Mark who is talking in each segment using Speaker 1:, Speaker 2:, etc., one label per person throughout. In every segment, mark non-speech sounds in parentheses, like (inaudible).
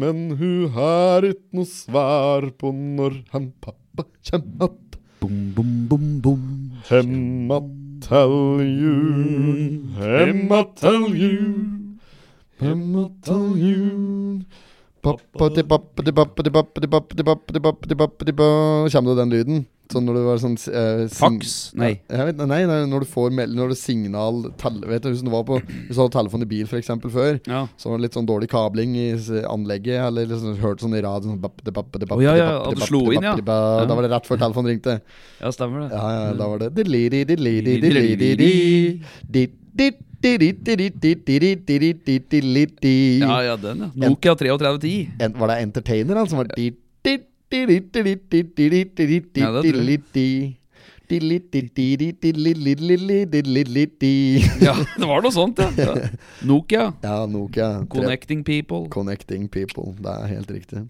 Speaker 1: Men hun har ikke noe svar på når han pappa kjem att.
Speaker 2: Bom, bom, bom, bom.
Speaker 1: Hemma tell you, hemma tell you, hemma tell you. Pappa di pappa di pappa di pappa di pappa di pappa di pappa di pappa di pappa Kommer det den lyden? Sånn når du var sånn eh, sing-
Speaker 2: Fax? Nei.
Speaker 1: Ja, jeg vet, nei, nei, når du får meld, når du signal tell, Vet du, hvis du var på Hvis du hadde telefon i bil for eksempel før
Speaker 2: Ja.
Speaker 1: Så var det litt sånn dårlig kabling i s- anlegget Eller liksom hørte sånn i radio sånn, bapp, de, bapp, de, bapp,
Speaker 2: Å, ja,
Speaker 1: de,
Speaker 2: ja,
Speaker 1: bapp,
Speaker 2: at
Speaker 1: de,
Speaker 2: det
Speaker 1: bapp,
Speaker 2: slo
Speaker 1: de,
Speaker 2: inn,
Speaker 1: bapp,
Speaker 2: ja.
Speaker 1: de, bapp. Da var det rett før telefonen ringte
Speaker 2: ja, stemmer det.
Speaker 1: ja, ja, da var det Diliri, diliri, diliri, diliri, di, di, diri, diri, di, diri, diri, di, diri, di.
Speaker 2: Ja, ja, den, ja. Nokia 3310.
Speaker 1: En, var det Entertainer, han som var di, di, diri, diri, di, diri, diri, di,
Speaker 2: Ja, det tror
Speaker 1: diri,
Speaker 2: jeg.
Speaker 1: di. Dili, di, diri, dili, li, li, li, dili, li, di.
Speaker 2: Ja, (laughs) det var noe
Speaker 1: (laughs)
Speaker 2: sånt, ja. ja. Nokia.
Speaker 1: Ja, Nokia. tre-
Speaker 2: Connecting people.
Speaker 1: Connecting people. Det er helt riktig.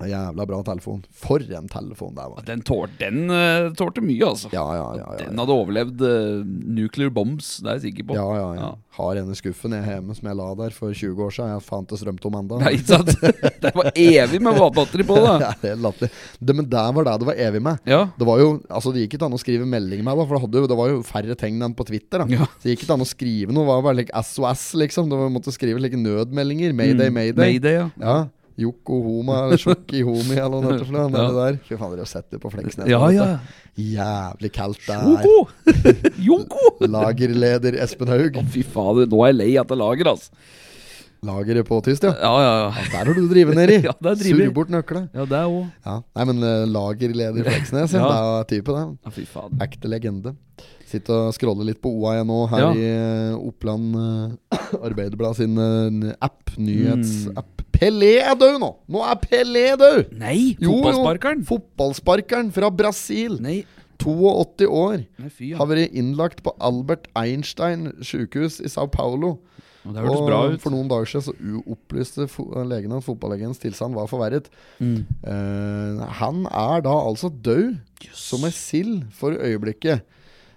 Speaker 1: Jævla bra telefon. For en telefon det var.
Speaker 2: Den, tål, den eh, tålte mye, altså.
Speaker 1: Ja, ja, ja. ja, ja.
Speaker 2: Den hadde overlevd eh, nuclear bombs, det er jeg sikker på.
Speaker 1: Ja, ja, ja.
Speaker 2: Ja.
Speaker 1: Har en i skuffen jeg hjemme som jeg la der for 20 år siden. Jeg fant det strømte om enda.
Speaker 2: (laughs)
Speaker 1: (laughs)
Speaker 2: Nei, ikke sant? (laughs) Det var evig med batteri på,
Speaker 1: Det
Speaker 2: da.
Speaker 1: er helt latterlig. Det- Men der var det det var evig med.
Speaker 2: Ja.
Speaker 1: Det var jo, altså det gikk ikke an å skrive melding med, da, for det, hadde jo, det var jo færre tegn enn på Twitter. da
Speaker 2: Ja.
Speaker 1: Så det gikk ikke an å skrive noe. Det var bare like SOS, liksom. Du måtte skrive like nødmeldinger. Mayday,
Speaker 2: Mm.
Speaker 1: mayday.
Speaker 2: Mayday, ja.
Speaker 1: Ja. Joko Homa, eller Sjokki Homi, eller
Speaker 2: (laughs)
Speaker 1: noe sånt. for noe, det
Speaker 2: Ja.
Speaker 1: der. Fy faen, dere har sett det på Fleksnes.
Speaker 2: Ja, ja.
Speaker 1: Jævlig kaldt der.
Speaker 2: Joko! (laughs)
Speaker 1: (laughs)
Speaker 2: Joko!
Speaker 1: Lagerleder Espen Haug.
Speaker 2: Å, fy fader, nå er jeg lei etter lager, altså.
Speaker 1: Lageret på tyst,
Speaker 2: (laughs)
Speaker 1: ja.
Speaker 2: Ja, ja, ja.
Speaker 1: Der har du drevet nedi.
Speaker 2: (laughs) Ja, der driver.
Speaker 1: Surre bort nøkla.
Speaker 2: Ja, det òg.
Speaker 1: Ja. Nei, men eh, lagerleder Fleksnes, ja. Det
Speaker 2: (laughs) Ja.
Speaker 1: er type, det.
Speaker 2: Ja, fy fader.
Speaker 1: Ekte legende. Sitter og scroller litt på OA jeg nå, her
Speaker 2: Ja.
Speaker 1: i eh, Oppland eh, Arbeiderblad sin eh, app,
Speaker 2: Mm.
Speaker 1: nyhetsapp. Pelé er død nå! Nå er Pelé død!
Speaker 2: Nei!
Speaker 1: Jo, jo.
Speaker 2: Fotballsparkeren?
Speaker 1: Fotballsparkeren fra Brasil.
Speaker 2: Nei.
Speaker 1: 82 år.
Speaker 2: Nei, fy, ja.
Speaker 1: Har vært innlagt på Albert Einstein sykehus i Sao Paulo.
Speaker 2: Og Det hørtes bra ut.
Speaker 1: for noen dager siden så u- opplyste fo- legene at fotballegens tilstand var forverret.
Speaker 2: Mm.
Speaker 1: Eh, han er da altså død som ei sild for øyeblikket.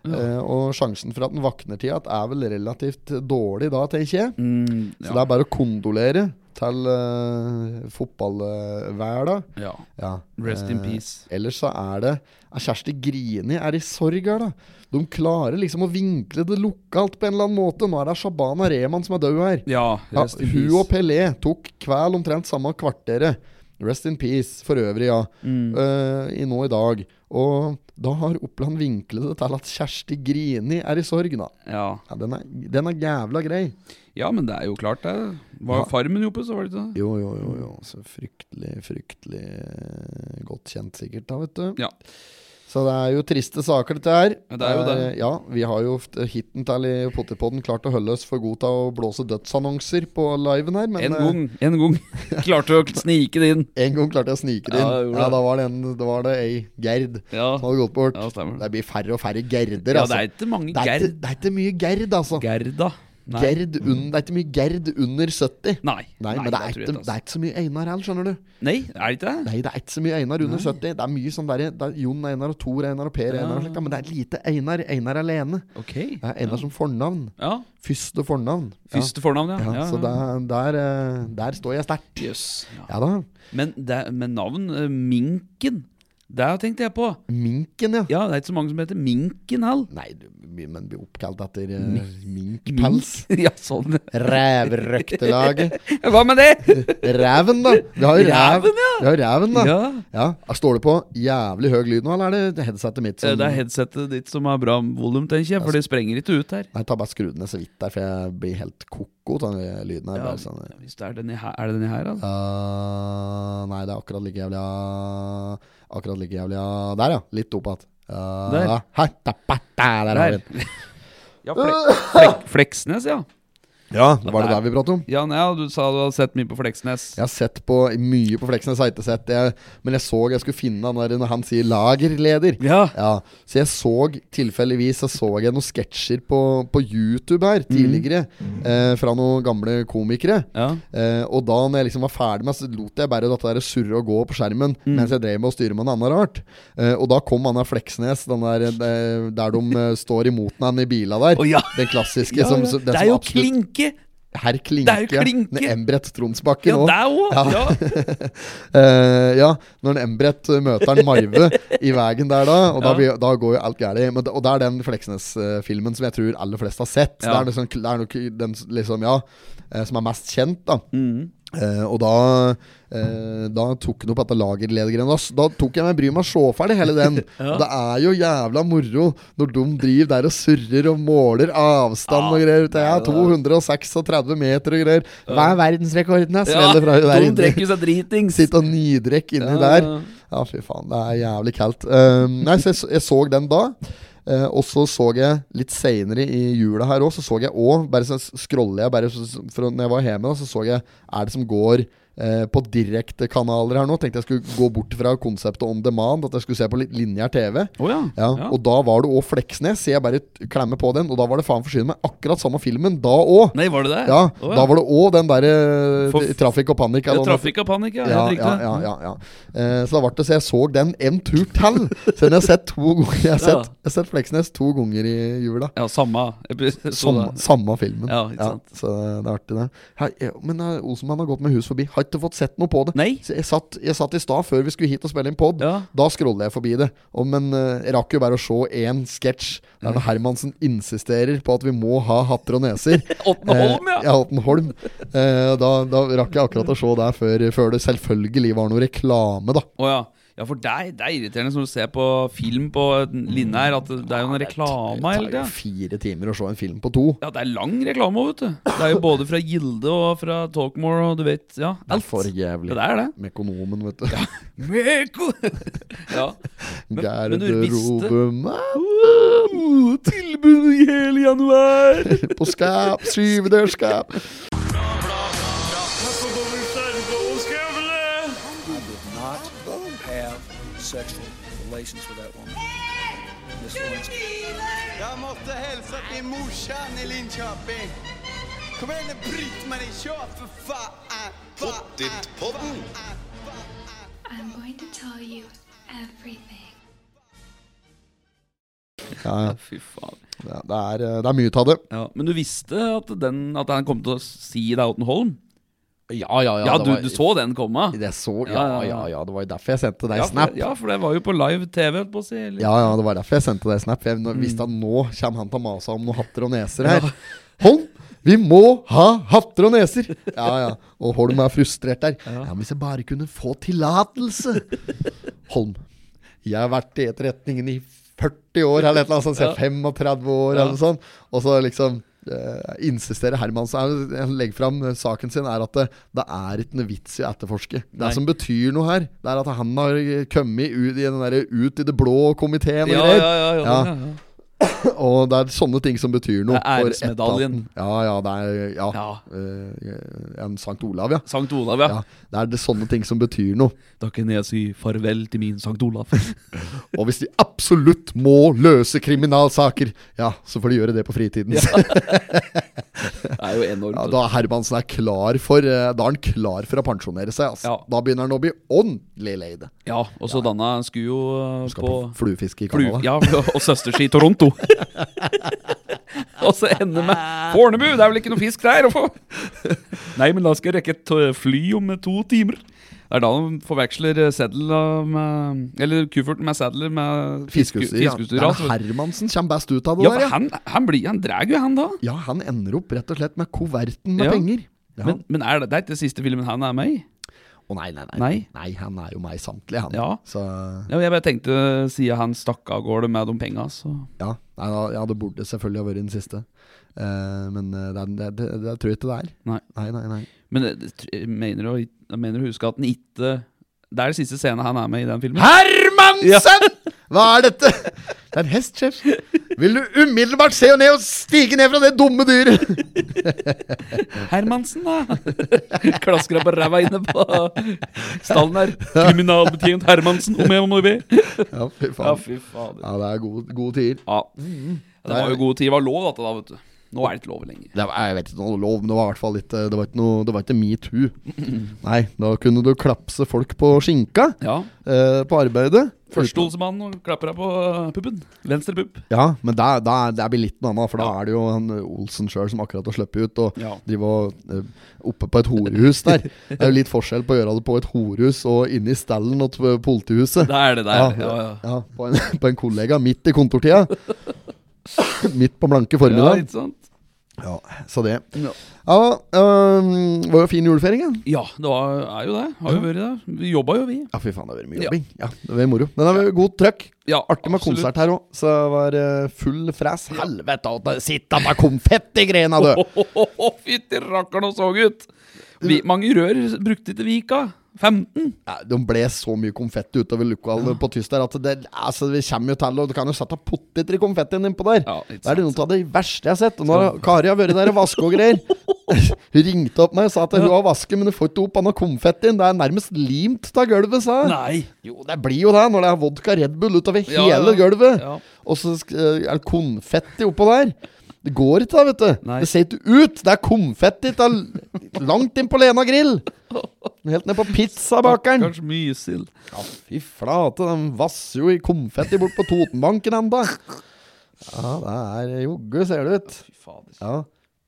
Speaker 1: Eh, og sjansen for at den våkner til igjen, er vel relativt dårlig da, tenker jeg.
Speaker 2: Mm,
Speaker 1: Så det
Speaker 2: ja.
Speaker 1: er bare å kondolere til uh, fotballverda.
Speaker 2: ja.
Speaker 1: Ja.
Speaker 2: Rest
Speaker 1: Eh,
Speaker 2: in peace.
Speaker 1: Ellers så er det er Kjersti Grini er i sorg her, da. De klarer liksom å vinkle det lokalt på en eller annen måte. Nå er det Shabana Rehman som er død her.
Speaker 2: Ja,
Speaker 1: Ja,
Speaker 2: rest in
Speaker 1: hun og
Speaker 2: peace.
Speaker 1: Pelé tok kvel omtrent samme kvarteret. Rest in peace, for øvrig, ja.
Speaker 2: Mm.
Speaker 1: Eh, i nå i dag. Og da har Oppland vinklet det til at Kjersti Grini er i sorg, da.
Speaker 2: Ja.
Speaker 1: Ja, den, er, den er jævla grei.
Speaker 2: ja, men det er jo klart, det. Var
Speaker 1: Ja.
Speaker 2: jo Farmen oppe, så var det ikke det?
Speaker 1: Jo, jo, jo. jo. Så fryktelig, fryktelig eh, godt kjent, sikkert, da, vet du.
Speaker 2: Ja.
Speaker 1: Så det er jo triste saker, dette her.
Speaker 2: Ja, det er jo det.
Speaker 1: Eh, ja, vi har jo f- hittil i Potipodden klart å holde oss for gode til å blåse dødsannonser på liven her, men
Speaker 2: En
Speaker 1: eh,
Speaker 2: gang. En
Speaker 1: (laughs)
Speaker 2: gang. Klarte å snike det inn.
Speaker 1: en gang klarte jeg å snike det
Speaker 2: Ja,
Speaker 1: inn.
Speaker 2: jeg gjorde
Speaker 1: Ja,
Speaker 2: det.
Speaker 1: da var det, en, da var det ei Gerd
Speaker 2: Ja,
Speaker 1: som hadde gått bort.
Speaker 2: ja stemmer.
Speaker 1: Det blir færre og færre Gerder,
Speaker 2: Ja,
Speaker 1: altså.
Speaker 2: det er ikke mange
Speaker 1: Det er,
Speaker 2: Gerd.
Speaker 1: ikke, det er ikke mye Gerd, altså.
Speaker 2: Gerda. Nei.
Speaker 1: Gerd un, det er ikke mye Gerd under 70. Nei,
Speaker 2: Nei,
Speaker 1: men det er,
Speaker 2: tror jeg
Speaker 1: ikke,
Speaker 2: altså.
Speaker 1: det er ikke så mye Einar heller, skjønner du.
Speaker 2: Nei, er det ikke det?
Speaker 1: Nei, det er ikke så mye Einar under 70. Det er mye sånn der, det er Jon Einar og Tor Einar og Per
Speaker 2: Ja.
Speaker 1: Einar og slikt, da, men det er lite Einar. Einar alene.
Speaker 2: Ok.
Speaker 1: Det er Einar som fornavn.
Speaker 2: Ja.
Speaker 1: Første fornavn. Ja.
Speaker 2: Første fornavn, ja.
Speaker 1: Ja,
Speaker 2: ja.
Speaker 1: Så der, der, eh, der står jeg sterkt.
Speaker 2: Jøss. Ja.
Speaker 1: Ja da.
Speaker 2: Men, det- men navn eh, Minken, det tenkte jeg på.
Speaker 1: Minken, ja.
Speaker 2: Ja, det er ikke så mange som heter Minken heller.
Speaker 1: Nei, du, men blir oppkalt etter eh, minkpels.
Speaker 2: (laughs) ja, sånn.
Speaker 1: Rævrøktelaget.
Speaker 2: Hva med det?
Speaker 1: Reven, da. Vi har jo rev.
Speaker 2: Reven, ja.
Speaker 1: Vi har reven, da.
Speaker 2: ja.
Speaker 1: Ja, Står det på jævlig høy lyd nå, eller er det headsetet mitt som
Speaker 2: Eh, Det er headsetet ditt som har bra volum, tenker jeg, for det sprenger ikke ut her.
Speaker 1: Nei, ta bare skru den ned så vidt der, for jeg blir helt koko av den lyden her.
Speaker 2: Ja,
Speaker 1: Bare sånn.
Speaker 2: Hvis det er denne her, er det denne her, altså? da?
Speaker 1: Ah, nei, det er akkurat like jævlig ah, Akkurat like jævlig ah. Der, ja. Litt opp igjen. Ah,
Speaker 2: Der.
Speaker 1: ha, da, ba, da, der har vi den.
Speaker 2: Ja, (laughs) Fle Flek Fleksnes, ja.
Speaker 1: Ja, var det der vi pratet om?
Speaker 2: Ja, nei, ja, du sa du hadde sett mye på Fleksnes.
Speaker 1: Jeg har sett på mye på Fleksnes, har jeg ikke sett det. Men jeg så jeg skulle finne han der når han sier 'lagerleder'.
Speaker 2: Ja.
Speaker 1: Ja, så jeg så tilfeldigvis Så så jeg noen sketsjer på, på YouTube her tidligere eh, Fra noen gamle komikere
Speaker 2: ja.
Speaker 1: eh, Og da når jeg liksom var ferdig med Så lot jeg bare dette der surre og gå på skjermen
Speaker 2: Mm.
Speaker 1: Mens jeg drev med å styre med en annen rart eh, Og da kom han der Fleksnes den der, eh, Der de eh, står imot han i bila der
Speaker 2: Å, ja.
Speaker 1: Den klassiske
Speaker 2: Ja,
Speaker 1: som,
Speaker 2: ja.
Speaker 1: som- den
Speaker 2: Det
Speaker 1: som
Speaker 2: er jo
Speaker 1: absolutt-
Speaker 2: klinke!
Speaker 1: Herr Klinke.
Speaker 2: Det er jo Klinke!
Speaker 1: Når Embret Tronsbakke
Speaker 2: Ja,
Speaker 1: nå.
Speaker 2: deg òg!
Speaker 1: Ja.
Speaker 2: Ja.
Speaker 1: (laughs) Eh, ja, når en Embret møter en Maive i veien der, da. Og da,
Speaker 2: Ja.
Speaker 1: blir, da går jo alt galt. Men det- Og det er den Fleksnes-filmen som jeg tror aller flest har sett.
Speaker 2: Ja.
Speaker 1: Det er, liksom, det er nok den s- liksom, ja, eh, som er mest kjent, da.
Speaker 2: Mm.
Speaker 1: Eh, og da, eh, da tok han opp dette lagerledegreiene. Da, s- da tok jeg meg bryet med å se ferdig hele
Speaker 2: (laughs)
Speaker 1: den.
Speaker 2: Ja.
Speaker 1: Og det er jo jævla moro når de driver der og surrer og måler avstand og
Speaker 2: Ja,
Speaker 1: greier. Det er
Speaker 2: det er det.
Speaker 1: 236 meter og greier. Hva er verdensrekorden, da?
Speaker 2: Ja,
Speaker 1: Smeller fra der
Speaker 2: de
Speaker 1: inne.
Speaker 2: drikker seg dritings.
Speaker 1: Sitte og nydrekke inni der. Ja, fy faen, det er jævlig kaldt. Um, nei, så jeg, så- jeg så den da. eh, og så så jeg litt seinere i jula her òg, så så jeg òg Bare så scroller jeg bare så, så- fra når jeg var hjemme, da, så så jeg Er det som går eh, på direktekanaler her nå? Tenkte jeg skulle gå bort fra konseptet on demand, at jeg skulle se på litt lineær TV.
Speaker 2: Å ja.
Speaker 1: Ja,
Speaker 2: Ja.
Speaker 1: Og da var det òg Fleksnes, så jeg bare t- klemmer på den. Og da var det faen forsyne meg akkurat samme filmen, da òg!
Speaker 2: Nei, var det det?
Speaker 1: Ja,
Speaker 2: Å,
Speaker 1: Da var det òg den derre
Speaker 2: For-
Speaker 1: Trafikk og panikk.
Speaker 2: ja,
Speaker 1: eller hva det-
Speaker 2: Trafikk og panikk, ja.
Speaker 1: ja,
Speaker 2: Helt
Speaker 1: ja,
Speaker 2: riktig.
Speaker 1: ja, ja, ja. Eh, så da ble det så jeg så den en tur til. Så den har jeg sett to (laughs) ganger. Jeg har sett, jeg har sett Fleksnes to ganger i jula.
Speaker 2: Ja, samme episode.
Speaker 1: Samme, samme filmen.
Speaker 2: Ja, ikke sant.
Speaker 1: så det er artig, det. Hei, eh, men eh, Olsenmann har gått med hus forbi. Har ikke fått sett noe på det.
Speaker 2: Nei?
Speaker 1: Så jeg satt, jeg satt i stad, før vi skulle hit og spille inn pod.
Speaker 2: Ja.
Speaker 1: Da scroller jeg forbi det. Og, men eh, jeg rakk jo bare å se én sketsj der når Hermansen insisterer på at vi må ha hatter og neser.
Speaker 2: Åttenholm, ja.
Speaker 1: Eh, ja, Ottenholm. Eh, da, da rakk jeg akkurat å se der før, før det selvfølgelig var noe reklame, da.
Speaker 2: Å ja. ja, for deg, det er irriterende når du ser på film på en linje her, at det er jo en reklame hele
Speaker 1: Det tar
Speaker 2: tida.
Speaker 1: jo fire timer å se en film på to.
Speaker 2: Ja, det er lang reklame òg, vet du. Det er jo både fra Gilde og fra Talkmore og du vet Ja,
Speaker 1: Det er
Speaker 2: alt.
Speaker 1: for
Speaker 2: Det
Speaker 1: jævlig.
Speaker 2: er det.
Speaker 1: Mekonomen, vet du.
Speaker 2: Meko! (laughs) ja.
Speaker 1: (laughs)
Speaker 2: Men- men du visste-
Speaker 1: Garderobe
Speaker 2: Oh, tilbud i hele januar!
Speaker 1: på skap, syvedørskap.
Speaker 3: not have sexual relations with that woman. Miss Lewinsky.
Speaker 4: Jeg måtte hilse til morsan i Linköping. Kom igjen, Britt-Marie, kjør, for faen! Pottitpodden!
Speaker 5: I'm going to tell you everything.
Speaker 1: Ja, ja.
Speaker 2: Fy faen.
Speaker 1: ja, Det er, eh, det er mye av det.
Speaker 2: Ja, men du visste at, den, at han kom til å si deg Otten Holm?
Speaker 1: Ja, ja,
Speaker 2: Ja, du, du så den komme?
Speaker 1: Jeg så, ja,
Speaker 2: Ja, ja,
Speaker 1: ja,
Speaker 2: ja.
Speaker 1: ja. Det var jo derfor jeg sendte deg
Speaker 2: ja,
Speaker 1: snap.
Speaker 2: for, ja, for det var jo på live TV, holdt på å si. Eller?
Speaker 1: Ja, ja, det var derfor jeg sendte deg snap. for Jeg nå- visste at nå kommer han til å mase om noen hatter og neser her. Holm, vi må ha hatter og neser! Ja, ja. Og Holm er frustrert der. Ja, men hvis jeg bare kunne få tillatelse! Holm, jeg har vært i etterretningen i 40 år, eller et eller annet sånt. så jeg er 35 år, eller noe sånt. Og så liksom eh, insisterer Hermansen eh, Han legger fram eh, saken sin, er at det, det er ikke noe vits i å etterforske. Det
Speaker 2: Nei.
Speaker 1: som betyr noe her, det er at han har eh, kommet ut i, den der, ut i det blå komiteen og
Speaker 2: ja, ja,
Speaker 1: greier.
Speaker 2: ja, ja,
Speaker 1: Ja.
Speaker 2: ja, ja.
Speaker 1: (laughs) Og det er sånne ting som betyr noe.
Speaker 2: Det er
Speaker 1: for
Speaker 2: æresmedaljen.
Speaker 1: etaten. Ja, ja, det er Ja.
Speaker 2: Ja.
Speaker 1: Eh, en Sankt Olav, ja.
Speaker 2: Sankt Olav, ja.
Speaker 1: ja. Det er det sånne ting som betyr noe.
Speaker 2: Da kunne jeg si farvel til min Sankt
Speaker 1: (laughs)
Speaker 2: Olav.
Speaker 1: Og hvis de absolutt må løse kriminalsaker, ja, så får de gjøre det på fritiden. (laughs) Ja,
Speaker 2: Det er jo enormt.
Speaker 1: da er Hermansen er klar for eh, Da er han klar for å pensjonere seg. Altså.
Speaker 2: Ja.
Speaker 1: Da begynner han å bli ordentlig lei det.
Speaker 2: Ja, og så Danna skulle jo uh,
Speaker 1: Skal på
Speaker 2: på
Speaker 1: fluefiske i
Speaker 2: Flu,
Speaker 1: Canada.
Speaker 2: ja,
Speaker 1: (laughs)
Speaker 2: (laughs) og søsterski i Toronto. og så ender med Fornebu, det er vel ikke noe fisk der å få? Nei, men da skal jeg rekke et eh, fly om eh, to timer. Det er da de forveksler eh, seddel eh, med Eller kufferten med sedler med fisku-
Speaker 1: Fiskeutstyr. Ja. Det
Speaker 2: fiskeutstyr.
Speaker 1: er
Speaker 2: altså.
Speaker 1: Hermansen kommer best ut av det
Speaker 2: Ja,
Speaker 1: der.
Speaker 2: for
Speaker 1: Ja.
Speaker 2: han, han blir Han drar jo, han da.
Speaker 1: ja, han ender opp rett og slett med koverten med
Speaker 2: Ja.
Speaker 1: penger. Ja.
Speaker 2: Men, men er det, det er ikke den siste filmen han er med i?
Speaker 1: Å nei, nei, nei. nei.
Speaker 2: Nei.
Speaker 1: han er jo meg samtlig, han.
Speaker 2: Ja.
Speaker 1: Så
Speaker 2: Ja, jeg bare tenkte, siden han stakk av gårde med de penga, så
Speaker 1: ja. Nei, da, ja, det burde selvfølgelig ha vært den siste. Eh, men eh, det, er- det, det, det tror jeg ikke det er.
Speaker 2: Nei.
Speaker 1: Nei, nei, nei.
Speaker 2: Men eh, tr- jeg mener du jeg mener å huske at han ikke Det er den siste scenen han er med i den filmen.
Speaker 1: Hermansen! (laughs) Hva er dette? Det er en hest, sjef. Vil du umiddelbart se ned og stige ned fra det dumme dyret? (laughs)
Speaker 2: Hermansen, da! (laughs) Klasker deg på ræva inne på stallen her. Kriminalbetjent Hermansen, om jeg må be.
Speaker 1: Ja, fy
Speaker 2: Ja,
Speaker 1: faen.
Speaker 2: fy fader.
Speaker 1: Ja, det er gode, gode tider.
Speaker 2: Ja. Det var jo god tid. Det var lov, dette da, vet du. Nå er det ikke lov lenger.
Speaker 1: Det var, jeg vet ikke noe lov, men det var i hvert fall litt eh, Det var ikke, noe, det var ikke
Speaker 2: (clears throat)
Speaker 1: metoo. Nei, da kunne du klapse folk på skinka
Speaker 2: Ja.
Speaker 1: eh, på arbeidet.
Speaker 2: Førsteholdsmann og klapper deg på eh, puppen. Venstre pupp.
Speaker 1: Ja, men der, der, der blir litt noe annet, for da er det jo han Olsen sjøl som akkurat har sluppet ut, og
Speaker 2: Ja.
Speaker 1: driver og eh, oppe på et horehus
Speaker 2: (laughs)
Speaker 1: der. Det er jo litt forskjell på å gjøre det på et horehus og inne i stallen og på politihuset.
Speaker 2: Det er det der. Ja, ja.
Speaker 1: ja, på, en, (laughs) på en kollega midt i
Speaker 2: (laughs)
Speaker 1: kontortida. midt på blanke
Speaker 2: Ja,
Speaker 1: formiddag.
Speaker 2: ikke sant?
Speaker 1: Ja, så det.
Speaker 2: Ja.
Speaker 1: Ja, øhm, var jo fin julefeiring, ja.
Speaker 2: Ja, det var, er jo det. Har jo vært det. Vi jobba jo, vi.
Speaker 1: Ja, fy faen, det har vært mye
Speaker 2: Ja.
Speaker 1: jobbing. Ja, det har vært moro. Men det har vært god trøkk.
Speaker 2: Ja,
Speaker 1: Artig med
Speaker 2: (laughs)
Speaker 1: konsert her òg, så det var eh, full fres. Helvete, at det sitter med konfettigreina,
Speaker 2: (laughs)
Speaker 1: du!
Speaker 2: Å, fytti rakkeren og så ut! Vi, mange rør brukte ikke vika. 15?
Speaker 1: Ja, de ble så mye konfetti utover lokalet på tysk der at det, altså, vi kommer jo til og Du kan jo sette poteter i konfettien innpå der.
Speaker 2: Ja,
Speaker 1: det
Speaker 2: ikke
Speaker 1: er noe av det verste jeg har sett. Og nå har Kari har vært der og vaska og greier. (laughs) Hun ringte opp meg og sa at hun har vasket, men hun får ikke opp annet konfettien. Det er nærmest limt av gulvet, sa hun.
Speaker 2: Nei.
Speaker 1: Jo, det blir jo det når det er vodka Red Bull utover
Speaker 2: Ja,
Speaker 1: hele
Speaker 2: ja.
Speaker 1: gulvet.
Speaker 2: Ja.
Speaker 1: Og så sk- eh, er det konfetti oppå der. Det går ikke, da, vet du.
Speaker 2: Nei.
Speaker 1: Det ser ikke ut. Det er konfetti til langt inn på Lena grill. Helt ned på pizzabakeren.
Speaker 2: Kanskje mysild.
Speaker 1: Ja, fy flate, de vasser jo i konfetti bort på Totenbanken enda. Ja, det er jogge, ser det ut.
Speaker 2: Fy fader.
Speaker 1: Ja,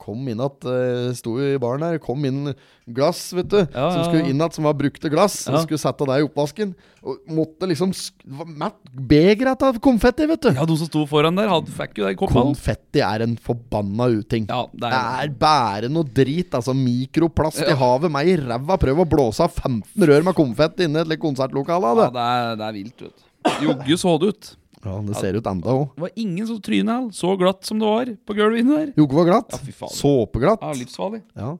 Speaker 1: kom inn at, eh, sto jo i baren her, kom inn glass, vet du,
Speaker 2: Ja,
Speaker 1: som
Speaker 2: ja,
Speaker 1: skulle
Speaker 2: ja.
Speaker 1: inn at, som var brukte glass, som
Speaker 2: Ja.
Speaker 1: skulle sette deg i oppvasken, og måtte liksom, sk- det var mett begret av konfetti, vet du.
Speaker 2: Ja, de som sto foran der, hadde, fikk jo det i koppa.
Speaker 1: Konfetti er en forbanna uting.
Speaker 2: Ja, det
Speaker 1: Det
Speaker 2: er
Speaker 1: er bare noe drit, altså. Mikroplast i havet, meg i ræva. Prøv å blåse av 15 rør med konfetti inne i et litt konsertlokale.
Speaker 2: Ja,
Speaker 1: da.
Speaker 2: det er, det er vilt, vet du. Jogge så det ut.
Speaker 1: Ja, det ser ut enda òg.
Speaker 2: Det var ingen som tryna all, så glatt som det var på gulvet inni der.
Speaker 1: Jogge var glatt.
Speaker 2: Ja, fy faen.
Speaker 1: Såpeglatt.
Speaker 2: Ja, livsfarlig.
Speaker 1: Ja.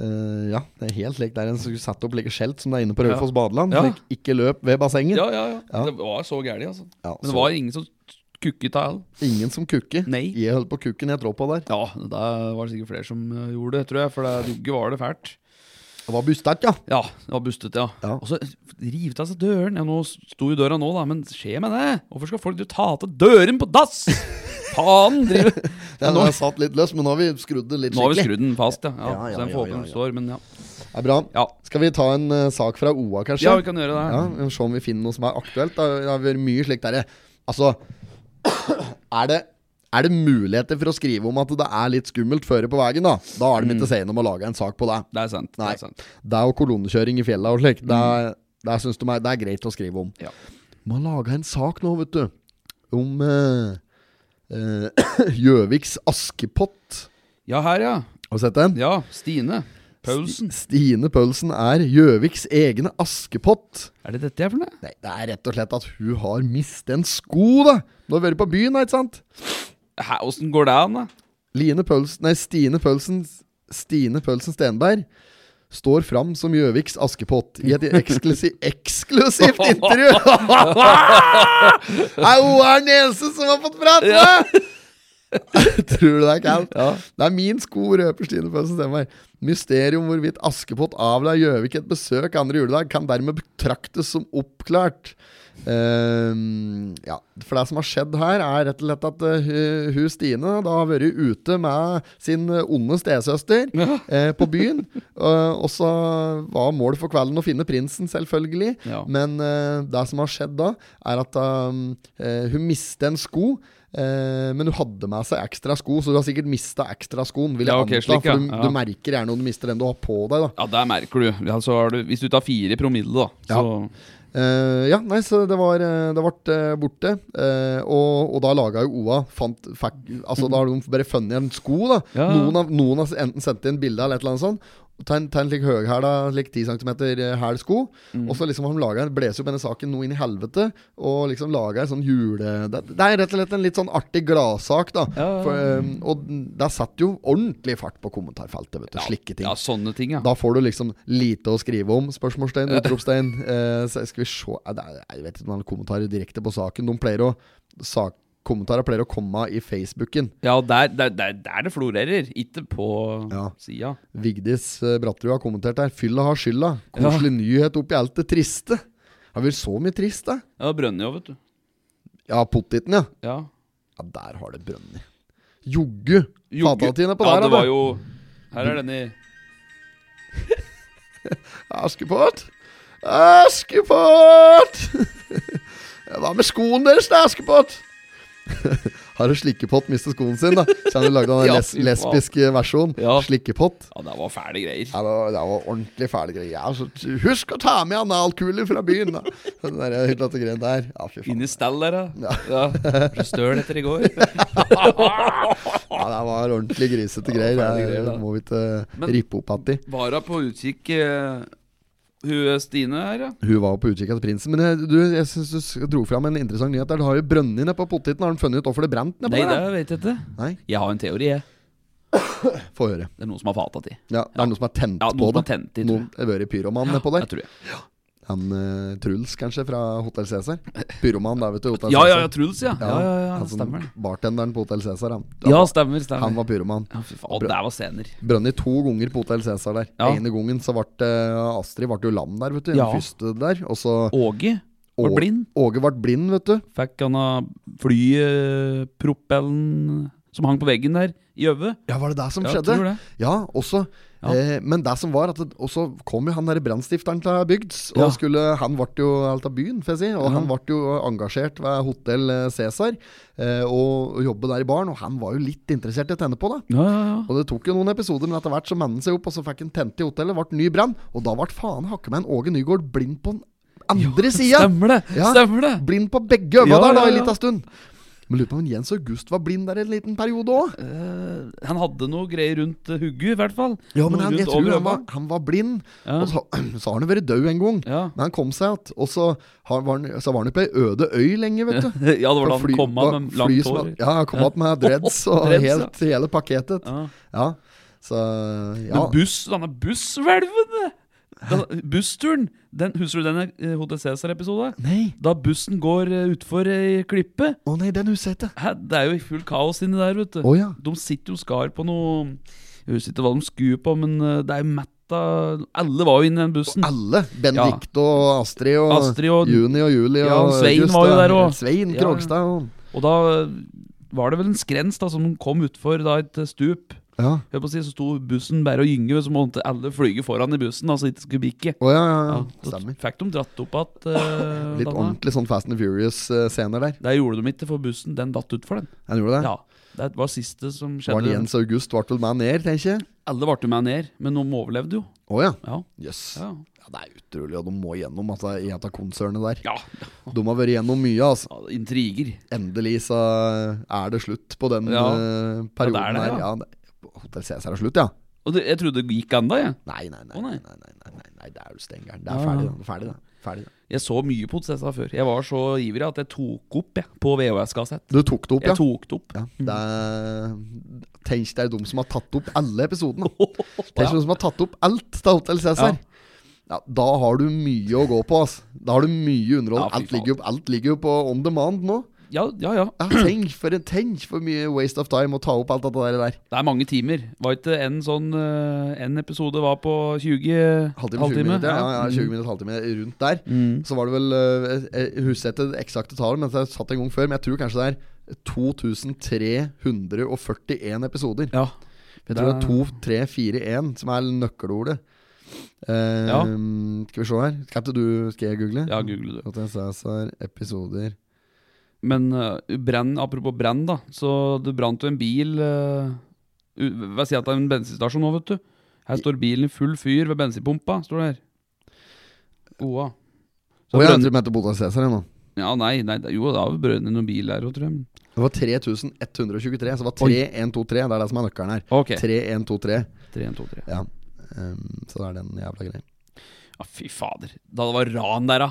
Speaker 1: Eh, ja, det er helt likt der en skulle satt opp like skjelt som det er inne på Raufoss badeland.
Speaker 2: Ja.
Speaker 1: Slik, ikke løp ved bassenget.
Speaker 2: Ja, ja, ja,
Speaker 1: Ja.
Speaker 2: Det var så gærent, altså.
Speaker 1: Ja,
Speaker 2: Men
Speaker 1: så-
Speaker 2: det var ingen som kukket av all.
Speaker 1: Ingen som kukker.
Speaker 2: Nei.
Speaker 1: Jeg holdt på kukken jeg trå på der.
Speaker 2: Ja, da var det sikkert flere som eh, gjorde det, tror jeg, for det jogge var det fælt.
Speaker 1: Det var bustet, ja.
Speaker 2: Ja, det var bustet, ja.
Speaker 1: Ja.
Speaker 2: Og så rivet av seg døren. Ja, nå sto jo døra nå, da, men skje med det? Hvorfor skal folk drive og ta til døren
Speaker 1: (laughs)
Speaker 2: på dass?! Faen! Drive.
Speaker 1: ja
Speaker 2: nå-
Speaker 1: nå... Jeg satt litt løs, men nå har vi skrudd det litt
Speaker 2: Nå har vi
Speaker 1: skikkelig.
Speaker 2: skrudd den fast, ja. ja,
Speaker 1: Ja, ja,
Speaker 2: så den
Speaker 1: ja, ja,
Speaker 2: får håpe den
Speaker 1: ja.
Speaker 2: står, men ja.
Speaker 1: Det er bra.
Speaker 2: ja.
Speaker 1: Skal vi ta en eh, sak fra OA, kanskje?
Speaker 2: Ja, vi kan gjøre det.
Speaker 1: Ja, vi må Se om vi finner noe som er aktuelt. da. Det har vært mye slikt derre. Altså, (coughs) er det er det muligheter for å skrive om at det er litt skummelt føre på veien? Da Da er de
Speaker 2: Mm.
Speaker 1: ikke sene om å lage en sak på det.
Speaker 2: Det er sant.
Speaker 1: Nei.
Speaker 2: Det er sant.
Speaker 1: Det er jo kolonnekjøring i fjellet og slikt. Det, er- det, er- synes de er- det er greit å skrive om.
Speaker 2: Mm. Ja.
Speaker 1: De har laga en sak nå, vet du, om eh, eh, (coughs) Gjøviks Askepott.
Speaker 2: ja, her, ja.
Speaker 1: Har du sett den?
Speaker 2: Ja, Stine. Paulsen.
Speaker 1: Stine Pølsen er Gjøviks egne Askepott.
Speaker 2: Er det dette jeg er for noe?
Speaker 1: Nei, det er rett og slett at hun har mistet en sko, da. Nå har vi vært på byen, da, ikke sant?
Speaker 2: Hæ, Åssen går det an, da?
Speaker 1: Line Pølsen, nei, Stine Pølsen Stine Pølsen Stenberg står fram som Gjøviks Askepott i et eksklusi eksklusivt intervju! Nei, Hun er den eneste som har fått prate! Tror du det er kaldt?
Speaker 2: Ja.
Speaker 1: Det er min sko, røper Stine Pølsen Stenberg. Mysterium hvorvidt Askepott avla Gjøvik et besøk andre juledag, kan dermed betraktes som oppklart. Ehm, ja, for det som har skjedd her, er rett og slett at eh, hu- hun Stine da har vært ute med sin eh, onde stesøster eh, på byen. Eh, og så var målet for kvelden å finne prinsen, selvfølgelig.
Speaker 2: Ja.
Speaker 1: Men eh, det som har skjedd da, er at um, eh, hun mistet en sko. eh, men hun hadde med seg ekstra sko, så hun har sikkert mista ekstra skoen. Vil jeg
Speaker 2: Ja, ok,
Speaker 1: anta,
Speaker 2: slik, ja.
Speaker 1: For du,
Speaker 2: Ja.
Speaker 1: du merker gjerne om du mister den du har på deg. da
Speaker 2: Ja, der merker du. Ja, så har du hvis du tar fire i promille, da,
Speaker 1: Ja.
Speaker 2: så
Speaker 1: Eh, ja, nei, så det var eh, Det ble eh, borte. eh, og, og da laga jo OA fant, fikk, Altså Da har de bare funnet en sko. da
Speaker 2: Ja.
Speaker 1: Noen, har, noen har enten sendt inn bilde eller et eller annet sånt. Ta en, ta en slik høyhæla, slik 10 cm hæl sko.
Speaker 2: Mm.
Speaker 1: Og så liksom har de laget, blåser opp denne saken noe inn i helvete. Og liksom laga en sånn jule... Det, det er rett og slett en litt sånn artig gladsak, da.
Speaker 2: Ja.
Speaker 1: For, eh, og der satt jo ordentlig fart på kommentarfeltet, vet du. Slike ting.
Speaker 2: Ja, sånne ting, ja.
Speaker 1: Da får du liksom lite å skrive om? Spørsmålstegn, utropstegn. Eh, så skal vi se Eh, det er, Jeg vet ikke om han har kommentarer direkte på saken. De pleier å sak, Kommentarer pleier å komme i Facebooken.
Speaker 2: Ja, der, der, der, der det florerer. Ikke på
Speaker 1: Ja.
Speaker 2: sida.
Speaker 1: Vigdis eh, Bratterud har kommentert der. 'Fylla har skylda'. Koselig nyhet oppi alt det triste. Har vært så mye trist, da.
Speaker 2: Ja, Brønnøy òg, vet du.
Speaker 1: Ja, pottiten, ja.
Speaker 2: Ja.
Speaker 1: Ja, der har det brønnet. Joggu. Fatatine på
Speaker 2: ja,
Speaker 1: der,
Speaker 2: det
Speaker 1: da.
Speaker 2: var jo Her er denne (laughs)
Speaker 1: Askepott! Askepott! Hva med skoen deres, da, Askepott? (laughs) Har en slikkepott mistet skoen sin, da? Så han lagde en
Speaker 2: (laughs) Ja,
Speaker 1: les
Speaker 2: fy faen.
Speaker 1: lesbisk eh, versjon.
Speaker 2: Ja.
Speaker 1: Slikkepott.
Speaker 2: Ja, det var fæle greier.
Speaker 1: Ja, det, var, det var ordentlig fæle greier. Ja, så t- husk å ta med analkuler fra byen, da. (laughs) Den der hyllete greia der. Ja, fy faen.
Speaker 2: Inn i stell der, da. Ja. Ble Støl etter
Speaker 1: (laughs)
Speaker 2: i går.
Speaker 1: Ja, det var ordentlig grisete greier.
Speaker 2: fæle
Speaker 1: Det
Speaker 2: greier, da.
Speaker 1: må vi ikke eh,
Speaker 2: Men-
Speaker 1: rippe opp igjen i.
Speaker 2: Var hun på utkikk eh, Hun eh, Stine her, ja?
Speaker 1: Hun var på utkikk etter prinsen. Men jeg, du, jeg synes du s- dro fram en interessant nyhet. der Du har jo brønner nede på poteten. Har de funnet ut hvorfor det brant nede
Speaker 2: Nei,
Speaker 1: på
Speaker 2: det
Speaker 1: der?
Speaker 2: vet jeg ikke.
Speaker 1: Nei,
Speaker 2: Jeg har en teori, jeg.
Speaker 1: få høre.
Speaker 2: Det er noen som har fata til.
Speaker 1: Ja, det er noen som har tent
Speaker 2: Ja,
Speaker 1: på
Speaker 2: noen som
Speaker 1: det.
Speaker 2: har tent i, tror
Speaker 1: Noen har vært pyroman nede på der.
Speaker 2: Jeg tror jeg.
Speaker 1: Han eh, Truls, kanskje, fra Hotell Cæsar. Pyroman der, vet du. Hotel
Speaker 2: Ja, ja, ja,
Speaker 1: Cæsar.
Speaker 2: Truls, ja. Ja, ja, ja,
Speaker 1: han som-
Speaker 2: stemmer det.
Speaker 1: Bartenderen på Hotell Cæsar, han.
Speaker 2: Ja, stemmer,
Speaker 1: Han
Speaker 2: stemmer.
Speaker 1: Altså, var pyroman.
Speaker 2: Ja, fy faen, der var scener.
Speaker 1: Brønner to ganger på Hotell Cæsar der.
Speaker 2: Ja.
Speaker 1: Ene gangen så ble eh, Astrid ble jo lam der, vet du. Den
Speaker 2: Ja.
Speaker 1: første der. Og så
Speaker 2: Åge var
Speaker 1: Å-
Speaker 2: blind.
Speaker 1: Åge ble blind, vet du.
Speaker 2: Fikk han av flypropellen som hang på veggen der, i øyet.
Speaker 1: Ja, var det det som
Speaker 2: Ja,
Speaker 1: skjedde?
Speaker 2: tror det.
Speaker 1: Ja, også.
Speaker 2: Ja.
Speaker 1: Eh, men det som var at det, Og så kom jo han der brannstifteren til bygds. Og
Speaker 2: Ja.
Speaker 1: skulle, han ble jo alt av byen, får jeg si. Og han ble jo engasjert ved Hotell Cæsar eh, og, og jobbe der i baren. Og han var jo litt interessert i å tenne på, da.
Speaker 2: Ja, ja, ja.
Speaker 1: Og det tok jo noen episoder, men etter hvert så mannen seg opp, og så fikk han tent i hotellet, ble ny brann. Og da ble faen hakke meg en Åge Nygaard blind på den andre sida!
Speaker 2: Stemmer det!
Speaker 1: Ja.
Speaker 2: Stemmer det!
Speaker 1: Blind på begge øynene
Speaker 2: Ja,
Speaker 1: der, da,
Speaker 2: ja,
Speaker 1: en
Speaker 2: ja.
Speaker 1: liten stund. Men lurer på om Jens August var blind der en liten periode òg.
Speaker 2: Eh, han hadde noe greier rundt uh, hugget, i hvert fall.
Speaker 1: Ja, men
Speaker 2: Noe
Speaker 1: han, jeg
Speaker 2: rundt
Speaker 1: tror
Speaker 2: over
Speaker 1: han var,
Speaker 2: øynene.
Speaker 1: han var blind.
Speaker 2: Ja.
Speaker 1: Og så, (clears throat) så har han jo vært død en gang.
Speaker 2: Ja.
Speaker 1: Men han kom seg igjen. Og så, har- var han- så var han jo på ei øde øy lenge, vet du.
Speaker 2: (laughs) ja, det var da
Speaker 1: Fly-
Speaker 2: han kom av med
Speaker 1: fly
Speaker 2: langt
Speaker 1: som
Speaker 2: hår.
Speaker 1: hadde- Ja, han kom igjen med
Speaker 2: (laughs)
Speaker 1: dreads og
Speaker 2: Dreads, ja.
Speaker 1: helt, hele pakketet.
Speaker 2: Ja.
Speaker 1: Ja, så ja.
Speaker 2: Men buss, denne busshvelven! da- Bussturen! Den, husker du denne eh, Hotel Cæsar-episoden?
Speaker 1: Nei,
Speaker 2: Da bussen går eh, utfor ei klippe.
Speaker 1: å nei, den husker jeg ikke.
Speaker 2: Hæ, det er jo full kaos inni der, vet du.
Speaker 1: Å ja.
Speaker 2: De sitter jo skar på noe Jeg husker ikke hva de skuer på, men eh, det er jo metta Alle var jo inne i den bussen.
Speaker 1: Alle. Benedicte og Astrid og
Speaker 2: Astrid og-
Speaker 1: Juni og Julie
Speaker 2: Ja,
Speaker 1: og
Speaker 2: Svein
Speaker 1: August
Speaker 2: var jo
Speaker 1: og-
Speaker 2: der også.
Speaker 1: Svein
Speaker 2: Ja.
Speaker 1: Krogstad og
Speaker 2: Og da var det vel en skrens da som kom utfor da et stup.
Speaker 1: Ja.
Speaker 2: Hør på å si, Så sto bussen bare og gynge, så måtte alle flyge foran i bussen. Altså ikke skulle bikke.
Speaker 1: Å ja, ja, ja.
Speaker 2: så
Speaker 1: Stemmer.
Speaker 2: Fikk de dratt opp igjen. eh,
Speaker 1: (laughs) Litt
Speaker 2: denne.
Speaker 1: ordentlig sånn Fast and Furious-scener der.
Speaker 2: Det gjorde de ikke, for bussen den datt utfor, den.
Speaker 1: Han gjorde det?
Speaker 2: Ja, Det var siste
Speaker 1: Var
Speaker 2: som
Speaker 1: det
Speaker 2: skjedde.
Speaker 1: Jens August ble vel med ned, tenker jeg?
Speaker 2: Alle ble jo med ned, men noen overlevde jo.
Speaker 1: Å ja.
Speaker 2: Ja,
Speaker 1: Jøss. Yes.
Speaker 2: ja.
Speaker 1: Ja, det er utrolig hva de må igjennom altså, i et av konsernene der.
Speaker 2: ja.
Speaker 1: De har vært igjennom mye. altså
Speaker 2: ja intriger.
Speaker 1: Endelig så er det slutt på den
Speaker 2: Ja.
Speaker 1: eh, perioden
Speaker 2: Ja, det er det,
Speaker 1: her. Ja,
Speaker 2: ja.
Speaker 1: det- Hotell Cæsar er slutt, ja?
Speaker 2: Og det, jeg trodde det gikk ennå, jeg.
Speaker 1: Nei, nei, nei.
Speaker 2: Å,
Speaker 1: nei,
Speaker 2: nei.
Speaker 1: nei, nei, nei, nei, Det er jo stengeren. Det
Speaker 2: Ja,
Speaker 1: er
Speaker 2: ja.
Speaker 1: ferdig, da. Ferdig, da. Ferdig, da.
Speaker 2: Jeg så mye på Potsessa før. Jeg var så ivrig at jeg tok opp jeg, på VHS-kassett.
Speaker 1: Du tok det opp, ja?
Speaker 2: Jeg tok det opp.
Speaker 1: ja. Det er, tenk deg de som har tatt opp alle episodene.
Speaker 2: (laughs)
Speaker 1: Tenk deg de som har tatt opp alt av Hotell Cæsar.
Speaker 2: Ja.
Speaker 1: Ja, da har du mye å gå på, altså. Da har du mye
Speaker 2: Ja,
Speaker 1: underhold.
Speaker 2: fy
Speaker 1: alt, ligger jo, alt ligger jo på on demand nå.
Speaker 2: Ja, ja, ja.
Speaker 1: Ja, tenk, for en, tenk for mye waste of time å ta opp alt dette der.
Speaker 2: Det er mange timer. Var ikke en sånn eh, En episode var på 20
Speaker 1: Halvtime, 20 minutter, ja, ja, 20
Speaker 2: Mm.
Speaker 1: minutter, halvtime rundt der. Så var det vel eh, Jeg husker ikke det eksakte tallet, men jeg satt en gang før. Men jeg tror kanskje det er 2341 episoder.
Speaker 2: Ja.
Speaker 1: jeg tror det
Speaker 2: det
Speaker 1: er 2341 som er nøkkelordet. Eh,
Speaker 2: Ja.
Speaker 1: Skal vi se her. Skal ikke du Skal jeg google?
Speaker 2: Ja, google du.
Speaker 1: At jeg sa Cæsar episoder
Speaker 2: Men eh, brenn, apropos brenn, da. Så det brant jo en bil eh, u- Hva sier jeg at det er en bensinstasjon nå, vet du. Her står bilen i full fyr ved bensinpumpa, står det her. Oa.
Speaker 1: Å ja,
Speaker 2: Så
Speaker 1: jeg
Speaker 2: brønn-
Speaker 1: tror du mente Botan Cæsar igjen nå.
Speaker 2: Ja, nei, nei, det- jo, da har vi brønnet noen bil der òg, tror jeg. men-
Speaker 1: Det var 3123, så det var
Speaker 2: Oi.
Speaker 1: 3123. Det er det som er nøkkelen her.
Speaker 2: Ok.
Speaker 1: 3123.
Speaker 2: 3, 1, 2, 3.
Speaker 1: Ja. Um, så det er den jævla greia.
Speaker 2: Ja, fy fader. Da det var ran der, da.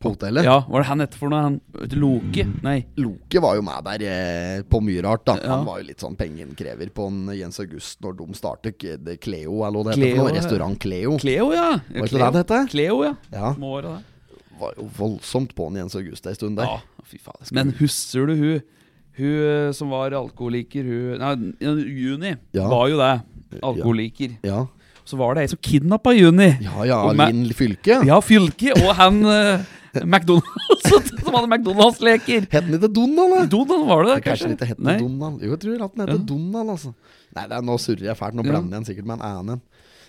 Speaker 1: På hotellet?
Speaker 2: Ja, var det han etter for noe? Han vet du, Loke? Nei.
Speaker 1: Loke var jo med der eh, på mye rart. da
Speaker 2: Ja.
Speaker 1: Han var jo litt sånn pengeinnkrever på en Jens August når de startet K- det Cleo, eller hva det heter.
Speaker 2: Cleo,
Speaker 1: for noe,
Speaker 2: ja.
Speaker 1: Restaurant Cleo.
Speaker 2: Cleo, ja.
Speaker 1: Var ikke det det het?
Speaker 2: Cleo, ja.
Speaker 1: Ja.
Speaker 2: Må være det.
Speaker 1: Var jo voldsomt på en Jens August en stund der.
Speaker 2: Ja, fy fader. Men husker du hun Hun eh, som var alkoholiker, hun Nei, Juni
Speaker 1: Ja.
Speaker 2: var jo det. Alkoholiker.
Speaker 1: Ja,
Speaker 2: Så var det ei som kidnappa Juni.
Speaker 1: ja, ja
Speaker 2: Og meg-
Speaker 1: Linn Fylke.
Speaker 2: Ja, Fylke og han eh, McDonald's (laughs) som hadde McDonald's-leker.
Speaker 1: Het den ikke Donald, da?
Speaker 2: Donald var det,
Speaker 1: Kanskje den ikke het
Speaker 2: Nei.
Speaker 1: Donald? Jo, jeg tror at den heter
Speaker 2: Ja.
Speaker 1: Donald, altså. Nei, det er, nå surrer jeg fælt. Nå
Speaker 2: Ja.
Speaker 1: blander jeg den sikkert med en annen.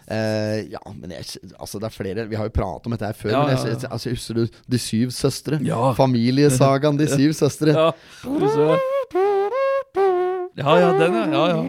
Speaker 1: Eh, ja, men jeg, altså det er flere Vi har jo pratet om dette her før.
Speaker 2: Ja,
Speaker 1: men
Speaker 2: ja,
Speaker 1: jeg,
Speaker 2: ja.
Speaker 1: altså, jeg husker du De syv søstre?
Speaker 2: Ja.
Speaker 1: Familiesagaen De syv søstre.
Speaker 2: (laughs) Ja, du så. ja, ja, den, ja. ja, ja.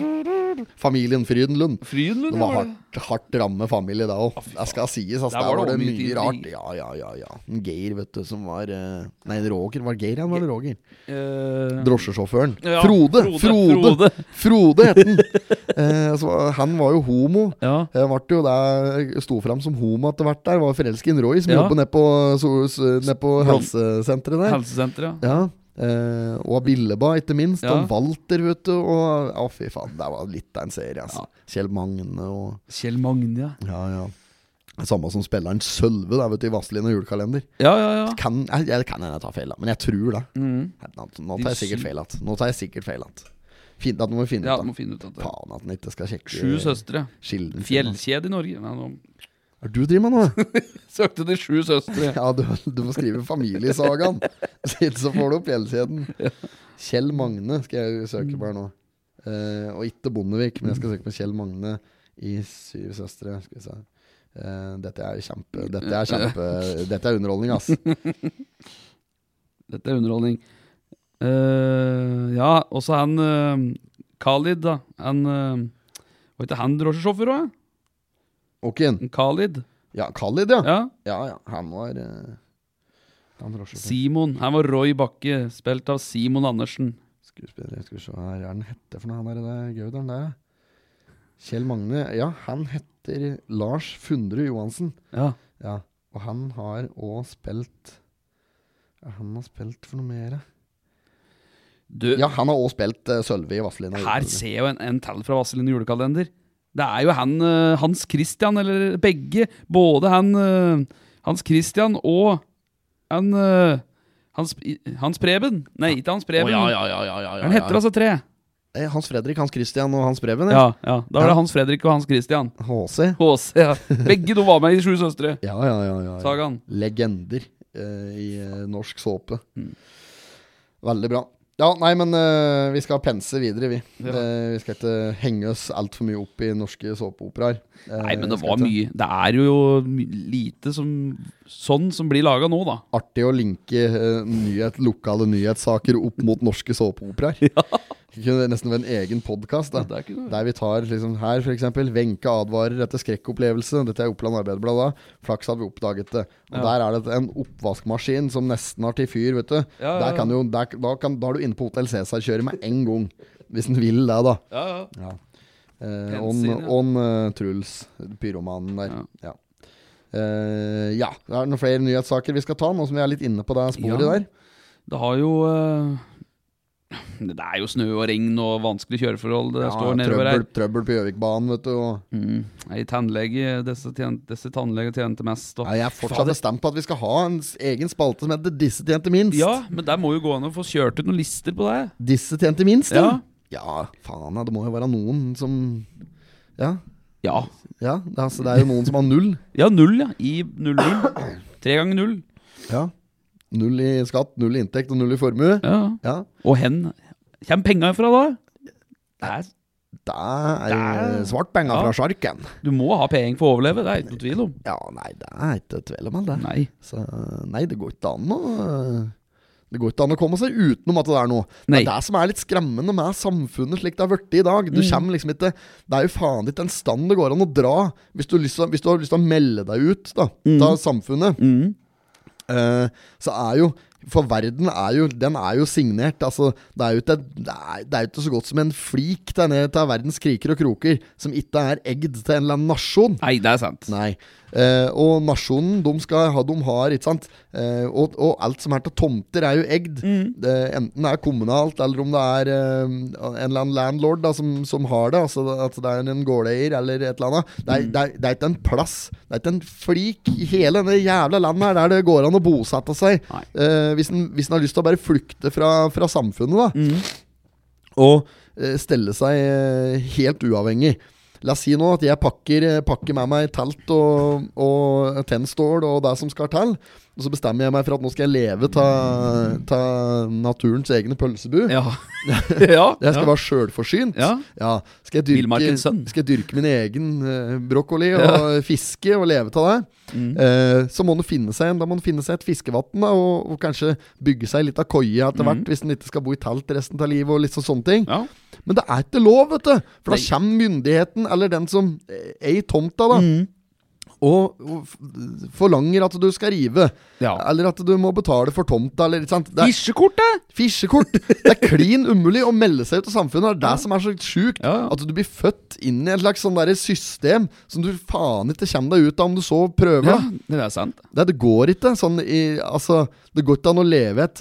Speaker 1: Familien Frydenlund.
Speaker 2: Frydenlund,
Speaker 1: Det
Speaker 2: ja,
Speaker 1: var
Speaker 2: var det?
Speaker 1: hardt, hardt ramme familie da òg. Det skal sies. Altså,
Speaker 2: Der
Speaker 1: der
Speaker 2: var
Speaker 1: var
Speaker 2: det
Speaker 1: det
Speaker 2: også mye
Speaker 1: mye
Speaker 2: tid-
Speaker 1: rart. Ja, ja, ja. ja En Geir, vet du, som var eh, Nei, Roger. Var det Geir han var det Roger?
Speaker 2: Eh,
Speaker 1: Drosjesjåføren.
Speaker 2: Ja,
Speaker 1: Frode!
Speaker 2: Frode,
Speaker 1: Frode, Frode het han. (laughs) Eh, så var- han var jo homo.
Speaker 2: Ja.
Speaker 1: Eh, vart jo der, sto fram som homo etter hvert der. Var forelsket i en Roy som
Speaker 2: Ja.
Speaker 1: jobber nede på, so- so- ned på helsesenteret der.
Speaker 2: Helsesenteret, ja.
Speaker 1: Ja eh, og Billeba, ikke minst.
Speaker 2: Ja.
Speaker 1: Og Walter, vet du. Og, å, fy faen, det var litt av en serie. Altså. Kjell Magne og
Speaker 2: Kjell Magne, ja.
Speaker 1: Ja, ja. Det Samme som spilleren Sølve da, vet du, i Vazelina julekalender.
Speaker 2: Ja, ja, ja.
Speaker 1: Kan, jeg, jeg kan hende jeg tar feil, da, men jeg tror det.
Speaker 2: Mm.
Speaker 1: Nei, Nå, nå tar jeg
Speaker 2: De syv-
Speaker 1: sikkert feil igjen. Nå tar jeg sikkert feil igjen. Fint at du må finne
Speaker 2: Ja,
Speaker 1: ut
Speaker 2: må
Speaker 1: av
Speaker 2: finne ut at det
Speaker 1: Faen at den ikke skal sjekke
Speaker 2: Sju søstre.
Speaker 1: kilden sin, altså.
Speaker 2: Fjellkjede i Norge. Nei, nå (laughs)
Speaker 1: Hva er det du driver med nå?
Speaker 2: søkte de sju søstre.
Speaker 1: Ja, du, du må skrive familiesagaen. Siden så får du opp fjellkjeden. Kjell Magne skal jeg søke på her nå. Eh, og ikke Bondevik, men jeg skal søke på Kjell Magne i Syv søstre. Skal vi se. Eh, dette er kjempe Dette er kjempe Dette er underholdning, ass.
Speaker 2: Dette er underholdning. Eh, ja, og så han eh, Khalid, da. Han eh, Var ikke han drosjesjåfør òg?
Speaker 1: Okin.
Speaker 2: Khalid.
Speaker 1: Ja, Khalid, ja.
Speaker 2: Ja.
Speaker 1: Ja, ja. Han var eh, Han drosjesjåfør.
Speaker 2: Simon. Han var Roy Bakke, spilt av Simon Andersen.
Speaker 1: Skuespiller, skal vi se her er han hette for noe, han der, det Gauderen der. Kjell Magne, ja, han heter Lars Fundre Johansen.
Speaker 2: Ja.
Speaker 1: Ja, og han har òg spilt ja, Han har spilt for noe mer, ja.
Speaker 2: Du,
Speaker 1: Ja, han har òg spilt eh, Sølve i Vazelina.
Speaker 2: her ser jeg jo en, en tall fra Vazelin julekalender. Det er jo han eh, Hans Christian, eller begge. Både han eh, Hans Christian og han eh, Hans, Hans Preben. Nei, ikke Hans Preben. Han heter altså tre.
Speaker 1: Eh, Hans Fredrik, Hans Christian og Hans Preben.
Speaker 2: Ja, ja. Da er det Hans Fredrik og Hans Christian.
Speaker 1: HC.
Speaker 2: HC. Ja. Begge to var med i Sju søstre.
Speaker 1: Ja, ja, ja. ja, ja.
Speaker 2: Sagaen.
Speaker 1: Legender eh, i eh, norsk såpe.
Speaker 2: Mm.
Speaker 1: Veldig bra. Ja, nei, men eh, vi skal pense videre, vi.
Speaker 2: Ja.
Speaker 1: Eh, vi skal ikke henge oss altfor mye opp i norske såpeoperaer. Eh,
Speaker 2: Nei, men
Speaker 1: vi
Speaker 2: det
Speaker 1: skal
Speaker 2: var
Speaker 1: ikke-
Speaker 2: mye. Det er jo my- lite som sånn som blir laga nå, da.
Speaker 1: artig å linke eh, nyhet, lokale nyhetssaker opp mot norske såpeoperaer.
Speaker 2: (laughs)
Speaker 1: Det kunne nesten vært en egen podkast.
Speaker 2: Ja, det kunne det.
Speaker 1: Der vi tar liksom her, f.eks.: Wenche advarer etter skrekkopplevelse. Dette er Oppland Arbeiderblad da. Flaks at vi oppdaget det. Og Der er det en oppvaskmaskin som nesten har til fyr, vet du.
Speaker 2: Ja, ja,
Speaker 1: Der kan du, jo- der, da, kan, da er du inne på Hotell Cæsar-kjøret med en gang. Hvis en vil det, da.
Speaker 2: Ja, ja.
Speaker 1: Eh, on
Speaker 2: Pensin, ja.
Speaker 1: on eh, Truls, pyromanen der. Ja. Eh, ja. Det er noen flere nyhetssaker vi skal ta, nå som vi er litt inne på det sporet
Speaker 2: Ja.
Speaker 1: der.
Speaker 2: Det har jo eh, Det er jo snø og regn og vanskelige kjøreforhold det
Speaker 1: Ja,
Speaker 2: står
Speaker 1: trøbbel,
Speaker 2: nedover her.
Speaker 1: trøbbel på Gjøvikbanen, vet du. Og
Speaker 2: Mm. Ei tannlege Disse, tjen, disse tannleger tjente mest. Og.
Speaker 1: ja, jeg er fortsatt bestemt på at vi skal ha en s- egen spalte som heter 'Disse tjente minst'.
Speaker 2: Ja, men der må jo gå an å få kjørt ut noen lister på det.
Speaker 1: Disse tjente minst,
Speaker 2: Ja.
Speaker 1: ja. Ja, faen, ja, det må jo være noen som Ja.
Speaker 2: Ja.
Speaker 1: ja det, er- altså, det er jo noen som har null.
Speaker 2: Ja, null, ja. I 0-0. Tre ganger null.
Speaker 1: Ja. Null i skatt, null i inntekt og null i formue.
Speaker 2: Ja.
Speaker 1: Ja.
Speaker 2: Og hen kommer penga ifra da? Det er,
Speaker 1: Det er
Speaker 2: Det er-
Speaker 1: svart penger
Speaker 2: Ja.
Speaker 1: fra sjarken.
Speaker 2: du må ha penger for å overleve, det er ikke noe tvil om.
Speaker 1: Ja, nei, det er ikke tvil om det.
Speaker 2: Nei.
Speaker 1: Så, nei, det går ikke an å Det går ikke an å komme seg utenom at det er noe. Det
Speaker 2: Nei.
Speaker 1: er det som er litt skremmende med samfunnet slik det har blitt i dag.
Speaker 2: Mm.
Speaker 1: Du kommer liksom ikke Det er jo faen ikke en stand det går an å dra hvis du, har lyst til, å- hvis du har lyst til å melde deg ut da,
Speaker 2: Mm.
Speaker 1: av samfunnet. eh, så er jo For verden er jo Den er jo signert. Altså, det er jo ikke, det er, det er jo ikke så godt som en flik der nede til verdens kriker og kroker som ikke er egged til en eller annen nasjon.
Speaker 2: Nei, det er sant.
Speaker 1: Nei. Eh, og nasjonen, de, skal ha, de har, ikke sant eh, og, og alt som er til tomter, er jo eggd. Det, enten det er kommunalt, eller om det er eh, en eller annen landlord da, som, som har det. Altså at det er en gårdeier eller et eller annet. Det er, det, er, det er ikke en plass. Det er ikke en flik i hele denne jævla landet her der det går an å bosette seg.
Speaker 2: Nei.
Speaker 1: Eh, hvis, en, hvis en har lyst til å bare flykte fra, fra samfunnet, da og eh, stelle seg eh, helt uavhengig. La oss si nå at jeg pakker, eh, pakker med meg telt og, og tennstål og det som skal til. Og så bestemmer jeg meg for at nå skal jeg leve av naturens egne pølsebu. (laughs)
Speaker 2: Ja. ja.
Speaker 1: Jeg skal
Speaker 2: ja.
Speaker 1: være sjølforsynt.
Speaker 2: Ja.
Speaker 1: Skal, jeg dyrke,
Speaker 2: Villmarkens sønn.
Speaker 1: skal jeg dyrke min egen eh, brokkoli og fiske og leve av det?
Speaker 2: Mm.
Speaker 1: Eh, så må en finne seg en- Da må en finne seg et fiskevann da, og, og kanskje bygge seg litt av koie
Speaker 2: Mm.
Speaker 1: etter hvert, hvis en ikke skal bo i telt resten av livet. og litt sånn- sånne ting
Speaker 2: ja.
Speaker 1: Men det er ikke lov, vet du! For da
Speaker 2: Nei. Mm.
Speaker 1: kommer myndigheten, eller den som eh, er i tomta, da. Og, og f- forlanger at du skal rive,
Speaker 2: Ja.
Speaker 1: eller at du må betale for tomta. Eller, ikke sant? Det er-
Speaker 2: Fisjekortet!
Speaker 1: Fisjekort! Det er klin umulig å melde seg ut av samfunnet. Det er det som er så sjukt.
Speaker 2: Ja, ja.
Speaker 1: At du blir født inn i et slags sånn derre system som du faen ikke kommer deg ut av om du så prøver.
Speaker 2: Ja,
Speaker 1: da.
Speaker 2: det er sant.
Speaker 1: Det, det går ikke. Sånn i, altså, det går ikke an å leve et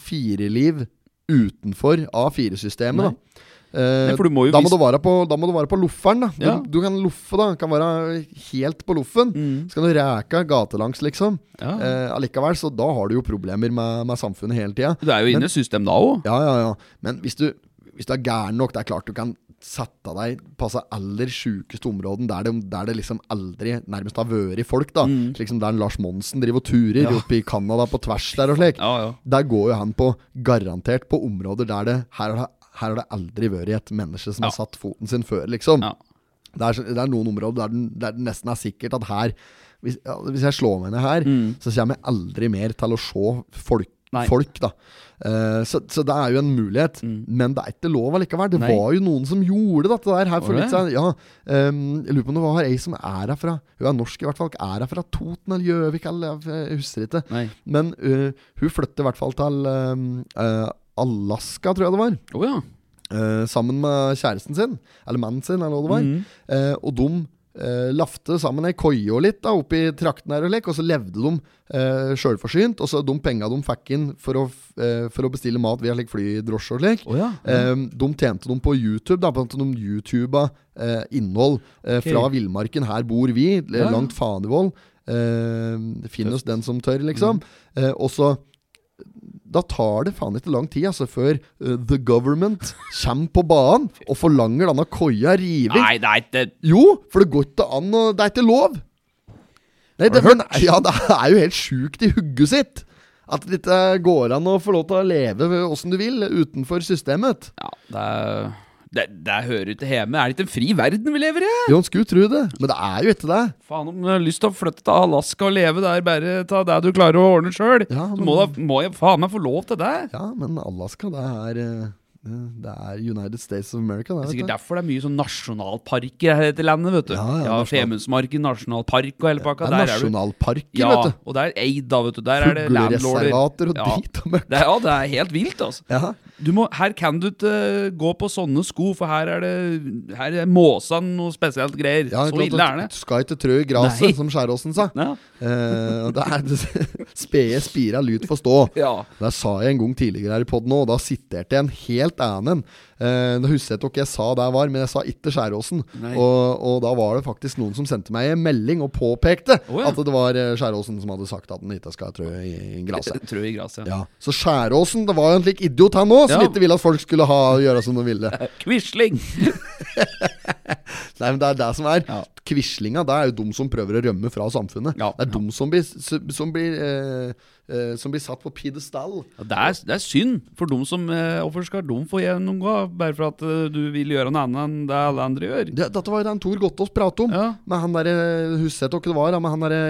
Speaker 1: A4-liv utenfor A4-systemet,
Speaker 2: Nei.
Speaker 1: da. Eh,
Speaker 2: Nei, for du må jo
Speaker 1: da,
Speaker 2: vis-
Speaker 1: må du være på, da må du være på lofferen, da. Du,
Speaker 2: Ja. Mm.
Speaker 1: du kan loffe, da. Kan være helt på loffen. Så kan du ræke gatelangs, liksom.
Speaker 2: Ja.
Speaker 1: Eh, allikevel, så da har du jo problemer med, med samfunnet hele tida.
Speaker 2: Du er jo inne i systemet da òg.
Speaker 1: Ja, ja, ja. Men hvis du, hvis du er gæren nok, det er klart du kan sette deg på altså, aller sjukeste områden der det, der det liksom aldri nærmest har vært folk, da.
Speaker 2: Mm.
Speaker 1: Slik som der Lars Monsen driver og turer oppe i Canada på tvers der og slik.
Speaker 2: Ja, ja.
Speaker 1: Der går jo han på garantert på områder der det her har, det- her har det aldri vært et menneske som
Speaker 2: Ja.
Speaker 1: har satt foten sin før, liksom.
Speaker 2: Ja.
Speaker 1: Det, er, så- det er noen områder der den- der det nesten er sikkert at her Hvis, ja, hvis jeg slår meg ned her, så kommer jeg aldri mer til å se folk.
Speaker 2: Mm. Nei.
Speaker 1: folk da Eh, så, så det er jo en mulighet, men det er ikke lov allikevel. Det
Speaker 2: Mm. Nei.
Speaker 1: var jo noen som gjorde dette der her for
Speaker 2: det?
Speaker 1: litt siden. Ja, ehm, jeg lurer på om det var ei som er herfra. Hun er norsk, i hvert fall. Er herfra Toten eller Gjøvik, eller jeg husker ikke.
Speaker 2: Nei.
Speaker 1: Men eh, hun flytter i hvert fall til eh, eh, Alaska, tror jeg det var.
Speaker 2: Å ja.
Speaker 1: eh, sammen med kjæresten sin, eller mannen sin, eller hva det
Speaker 2: Mm.
Speaker 1: var. Eh, og de eh, lafte sammen ei koie og litt da, oppi trakten her og lek, og så levde de uh, sjølforsynt. Og så de penga de fikk inn for å, f- eh, for å bestille mat via like, flydrosje og slik,
Speaker 2: Å ja.
Speaker 1: Ehm, de tjente dem på YouTube, da, på at de YouTuba eh, innhold eh,
Speaker 2: Ok.
Speaker 1: fra villmarken. Her bor vi, l-
Speaker 2: Ja.
Speaker 1: langt fanevold. Eh, Finn oss den som tør,
Speaker 2: Mm.
Speaker 1: liksom. Eh, og så da tar det faen ikke lang tid altså, før eh, the government kommer på banen og forlanger denne koia revet.
Speaker 2: Nei, det er ikke
Speaker 1: Jo, for det går ikke an å Det er ikke lov! Nei,
Speaker 2: Har du
Speaker 1: det, men, ja, det er jo helt sjukt i hugget sitt. At det ikke går an å få lov til å leve åssen du vil utenfor systemet.
Speaker 2: Ja, det er det, det hører ikke hjemme. Er det ikke en fri verden vi lever i?
Speaker 1: (laughs) Jo, en skulle tro det, men det er jo ikke det.
Speaker 2: Faen om du har lyst til å flytte til Alaska og leve der bare ta det du klarer å ordne sjøl.
Speaker 1: Ja,
Speaker 2: Så må, da, må jeg faen meg få lov til det.
Speaker 1: Ja, men Alaska, det er eh, Det er United States of America,
Speaker 2: Det
Speaker 1: det.
Speaker 2: er
Speaker 1: vet
Speaker 2: sikkert
Speaker 1: du.
Speaker 2: derfor det er mye sånn nasjonalparker her i dette landet, vet du.
Speaker 1: Ja, ja, nasjonal-
Speaker 2: Femundsmarken nasjonalpark og hele
Speaker 1: Det
Speaker 2: pakka.
Speaker 1: er
Speaker 2: Der er du.
Speaker 1: nasjonalparker,
Speaker 2: Ja,
Speaker 1: vet du.
Speaker 2: og det er Eid, da, vet du. Der er det landlorder.
Speaker 1: Fuglereservater og
Speaker 2: Ja.
Speaker 1: drit og møkk.
Speaker 2: Det, er- ja, det er helt vilt, altså.
Speaker 1: Ja.
Speaker 2: Du må, her kan du ikke eh, gå på sånne sko, for her er det Her er måsan noe spesielt greier.
Speaker 1: Ja,
Speaker 2: Så ille er det.
Speaker 1: Du skal ikke trø i graset,
Speaker 2: Nei.
Speaker 1: som Skjæråsen sa.
Speaker 2: Ja.
Speaker 1: Eh, det er (laughs) spede spira lut får
Speaker 2: (laughs)
Speaker 1: stå.
Speaker 2: Ja.
Speaker 1: Det sa jeg en gang tidligere her i podden òg, og da siterte jeg en helt annen. Eh, da husker jeg ikke hva jeg sa der var, men jeg sa ikke Skjæråsen.
Speaker 2: Nei.
Speaker 1: Og, og da var det faktisk noen som sendte meg en melding og påpekte
Speaker 2: Å, ja.
Speaker 1: at det var eh, Skjæråsen som hadde sagt at den ikke skal trø i, i
Speaker 2: (laughs)
Speaker 1: glasset.
Speaker 2: Trø i gresset.
Speaker 1: Ja. Så Skjæråsen, det var jo en slik idiot han òg, som
Speaker 2: Ja.
Speaker 1: ikke ville at folk skulle ha gjøre som de
Speaker 2: (laughs)
Speaker 1: ville.
Speaker 2: Eh, Quisling!
Speaker 1: Nei, men Det er det som er
Speaker 2: Ja.
Speaker 1: Quislinga det er jo de som prøver å rømme fra samfunnet.
Speaker 2: Ja.
Speaker 1: Det er de som blir, som blir, eh, eh, som blir satt på pidestall.
Speaker 2: Ja, Det er, det er synd for dem som eh, Hvorfor skal de få gjennomgå bare for at eh, du vil gjøre noe annet enn det alle andre gjør?
Speaker 1: Det, dette var jo den Tor Gottaas pratet om.
Speaker 2: Ja.
Speaker 1: Med han derre Husker jeg ikke hva det var. da, Med han derre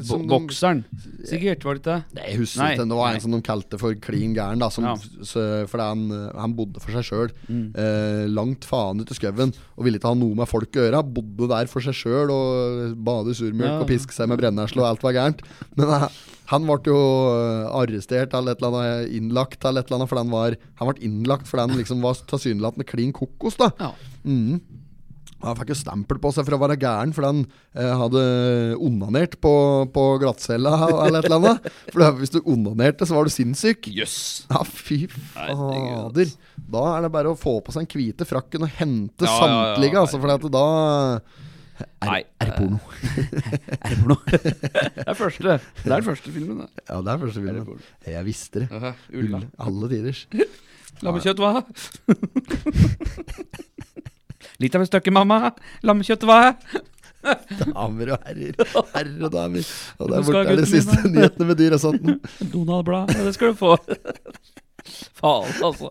Speaker 2: Bo
Speaker 1: som de-
Speaker 2: Bokseren. Sikkert, var det ikke det?
Speaker 1: Nei, jeg husker
Speaker 2: Nei,
Speaker 1: ikke. Det var
Speaker 2: nei.
Speaker 1: en som de kalte for klin gæren. da som,
Speaker 2: Ja. Mm.
Speaker 1: s- Fordi han, eh, han bodde for seg sjøl. Eh, langt faen ut i skauen. Og ville ikke ha noe med folk å gjøre. Han Bodde der for seg sjøl og eh, bade i surmjølk
Speaker 2: Ja.
Speaker 1: og piske seg med brennesle, og alt var gærent. Men eh, han ble jo eh, arrestert eller et eller annet, innlagt eller et eller annet, for han var Han ble innlagt fordi han liksom var tilsynelatende klin kokos, da.
Speaker 2: Ja.
Speaker 1: Mm. Han fikk jo stempel på seg for å være gæren fordi han eh, hadde onanert på, på glattcella eller et eller annet. For da- hvis du onanerte, så var du sinnssyk.
Speaker 2: Jøss.
Speaker 1: Ja, fy
Speaker 2: Herregud,
Speaker 1: fader. Da er det bare å få på seg den hvite frakken og hente
Speaker 2: Ja, ja, ja,
Speaker 1: samtlige,
Speaker 2: ja.
Speaker 1: altså, for at da er,
Speaker 2: Nei,
Speaker 1: er det porno.
Speaker 2: Er det for noe? (laughs) det er første. Det er den første filmen, eh, det.
Speaker 1: Ja, det er første filmen. Jeg visste det.
Speaker 2: Aha, Ulla. (laughs)
Speaker 1: (laughs) Alle tiders.
Speaker 2: Lammekjøtt, hva? Litt av et stykke, mamma. Lammekjøtt, hva?
Speaker 1: Damer og herrer. Herrer og damer. Og
Speaker 2: Du
Speaker 1: der
Speaker 2: skal
Speaker 1: borte er
Speaker 2: ha
Speaker 1: de
Speaker 2: gutten min,
Speaker 1: siste nyhetene med Dyresotten.
Speaker 2: Donald-blad. Ja, det skal du få. (laughs) Faen, altså.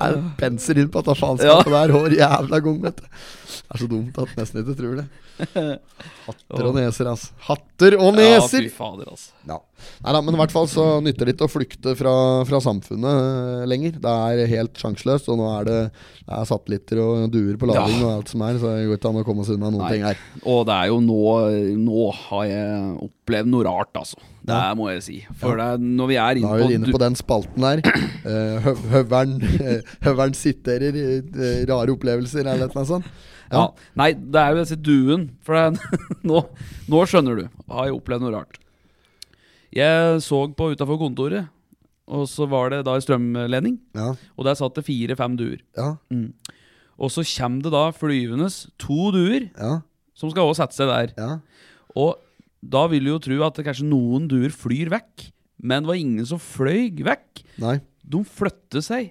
Speaker 1: Er det penser inn på at det er faenskapet der hår jævla gang, vet du. Det er så dumt at nesten ikke tror
Speaker 2: (laughs)
Speaker 1: det. Hatter og neser, altså. Hatter og
Speaker 2: Ja, fy
Speaker 1: neser!
Speaker 2: fader, altså.
Speaker 1: Ja. Nei da, men i hvert fall så nytter det ikke å flykte fra, fra samfunnet eh, lenger. Det er helt sjanseløst, og nå er det, det er satellitter og duer på lading
Speaker 2: Ja.
Speaker 1: og alt som er, så det går ikke an å komme seg unna noen
Speaker 2: Nei.
Speaker 1: ting her.
Speaker 2: Og det er jo nå Nå har jeg opplevd noe rart, altså. Det må jeg si. For det er, når vi
Speaker 1: Da
Speaker 2: er inne
Speaker 1: er
Speaker 2: på,
Speaker 1: vi inne på den spalten
Speaker 2: (clears throat)
Speaker 1: der. Eh, høv, høveren, (laughs) høveren siterer eh, rare opplevelser eller noe sånt.
Speaker 2: Ja. Nei, det er jo disse duen. For det, er- (laughs) nå, nå skjønner du. Har jeg opplevd noe rart. Jeg så på utafor kontoret, og så var det da en strømledning.
Speaker 1: Ja.
Speaker 2: Og der satt det fire-fem duer.
Speaker 1: Ja.
Speaker 2: Og så kommer det da flyvende to duer
Speaker 1: Ja.
Speaker 2: som skal også sette seg der.
Speaker 1: Ja.
Speaker 2: Og da vil du jo tro at det kanskje noen duer flyr vekk, men det var ingen som fløy vekk.
Speaker 1: Nei.
Speaker 2: De flyttet seg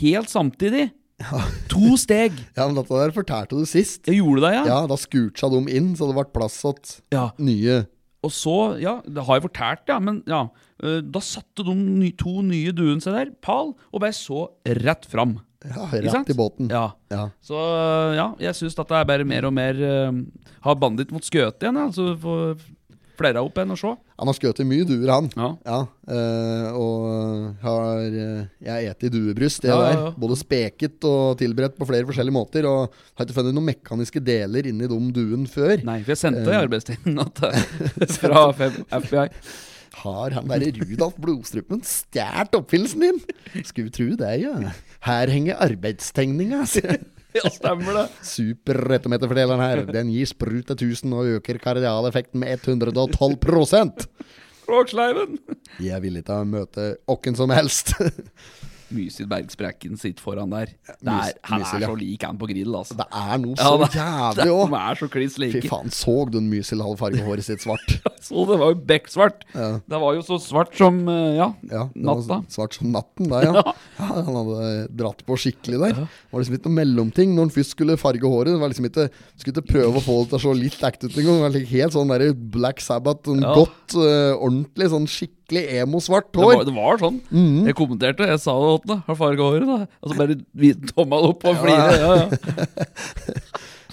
Speaker 2: helt samtidig.
Speaker 1: (laughs)
Speaker 2: To steg.
Speaker 1: Ja, men dette der fortalte du sist.
Speaker 2: Jeg gjorde det, ja.
Speaker 1: Ja, da scootcha de inn, så det ble plass til
Speaker 2: ja.
Speaker 1: nye
Speaker 2: Og så, ja, det har jeg fortalt, ja, men ja. eh, Da satte de ny, to nye duene seg der, pal, og bare så rett fram.
Speaker 1: ja,
Speaker 2: Ikke sant?
Speaker 1: rett i båten.
Speaker 2: Ja.
Speaker 1: Ja.
Speaker 2: Så eh, ja, jeg syns dette er bare mer og mer eh, Har bandit mot skøte igjen, ja, så vi får flere opp igjen og se.
Speaker 1: Han har skutt i mye duer, han.
Speaker 2: Ja.
Speaker 1: Ja, eh, og har eh, Jeg eter duebryst, det
Speaker 2: Ja, ja,
Speaker 1: der.
Speaker 2: ja.
Speaker 1: Både speket og tilberedt på flere forskjellige måter. Og har ikke funnet noen mekaniske deler inni de duen før.
Speaker 2: Nei, for jeg sendte
Speaker 1: Eh.
Speaker 2: i arbeidstiden at
Speaker 1: (laughs)
Speaker 2: det- fra FBI.
Speaker 1: Har han derre Rudolf Blodstrupen stjålet oppfinnelsen din? Skulle tru det, ja. Her henger arbeidstegninga.
Speaker 2: Ja, stemmer det.
Speaker 1: Superrettometerfordeleren her. Den gir sprut til 1000 og øker kardialeffekten med 112
Speaker 2: Råksleiven.
Speaker 1: Jeg vil ikke møte åkken som helst.
Speaker 2: Mysil Bergsprekken sitter foran der. Det
Speaker 1: Mys-
Speaker 2: er, han
Speaker 1: Mysil,
Speaker 2: er
Speaker 1: ja.
Speaker 2: så lik han på grill, altså.
Speaker 1: Det er noe
Speaker 2: Ja,
Speaker 1: så
Speaker 2: det-
Speaker 1: jævlig òg.
Speaker 2: De er så kliss like.
Speaker 1: Fy faen, så du en mysil halv farge håret sitt svart?
Speaker 2: Så det var jo bekksvart.
Speaker 1: Ja.
Speaker 2: Det var jo så svart som eh, ja,
Speaker 1: Ja, det var
Speaker 2: natta.
Speaker 1: Svart som natten der, ja. ja. Han hadde dratt på skikkelig der. Det var liksom ikke noe mellomting når han først skulle farge håret. Det var liksom ikke, Skulle ikke prøve å få det til å se litt ekte ut engang. Det var liksom Helt sånn der Black Sabbath, sånn
Speaker 2: Ja.
Speaker 1: godt, eh, ordentlig, sånn skikkelig emo-svart
Speaker 2: Det
Speaker 1: hår.
Speaker 2: var, det var sånn.
Speaker 1: Mm.
Speaker 2: Jeg kommenterte, jeg sa det til deg. Har farga håret, da? Og så bare vidt tommel opp og flire. Ja, ja.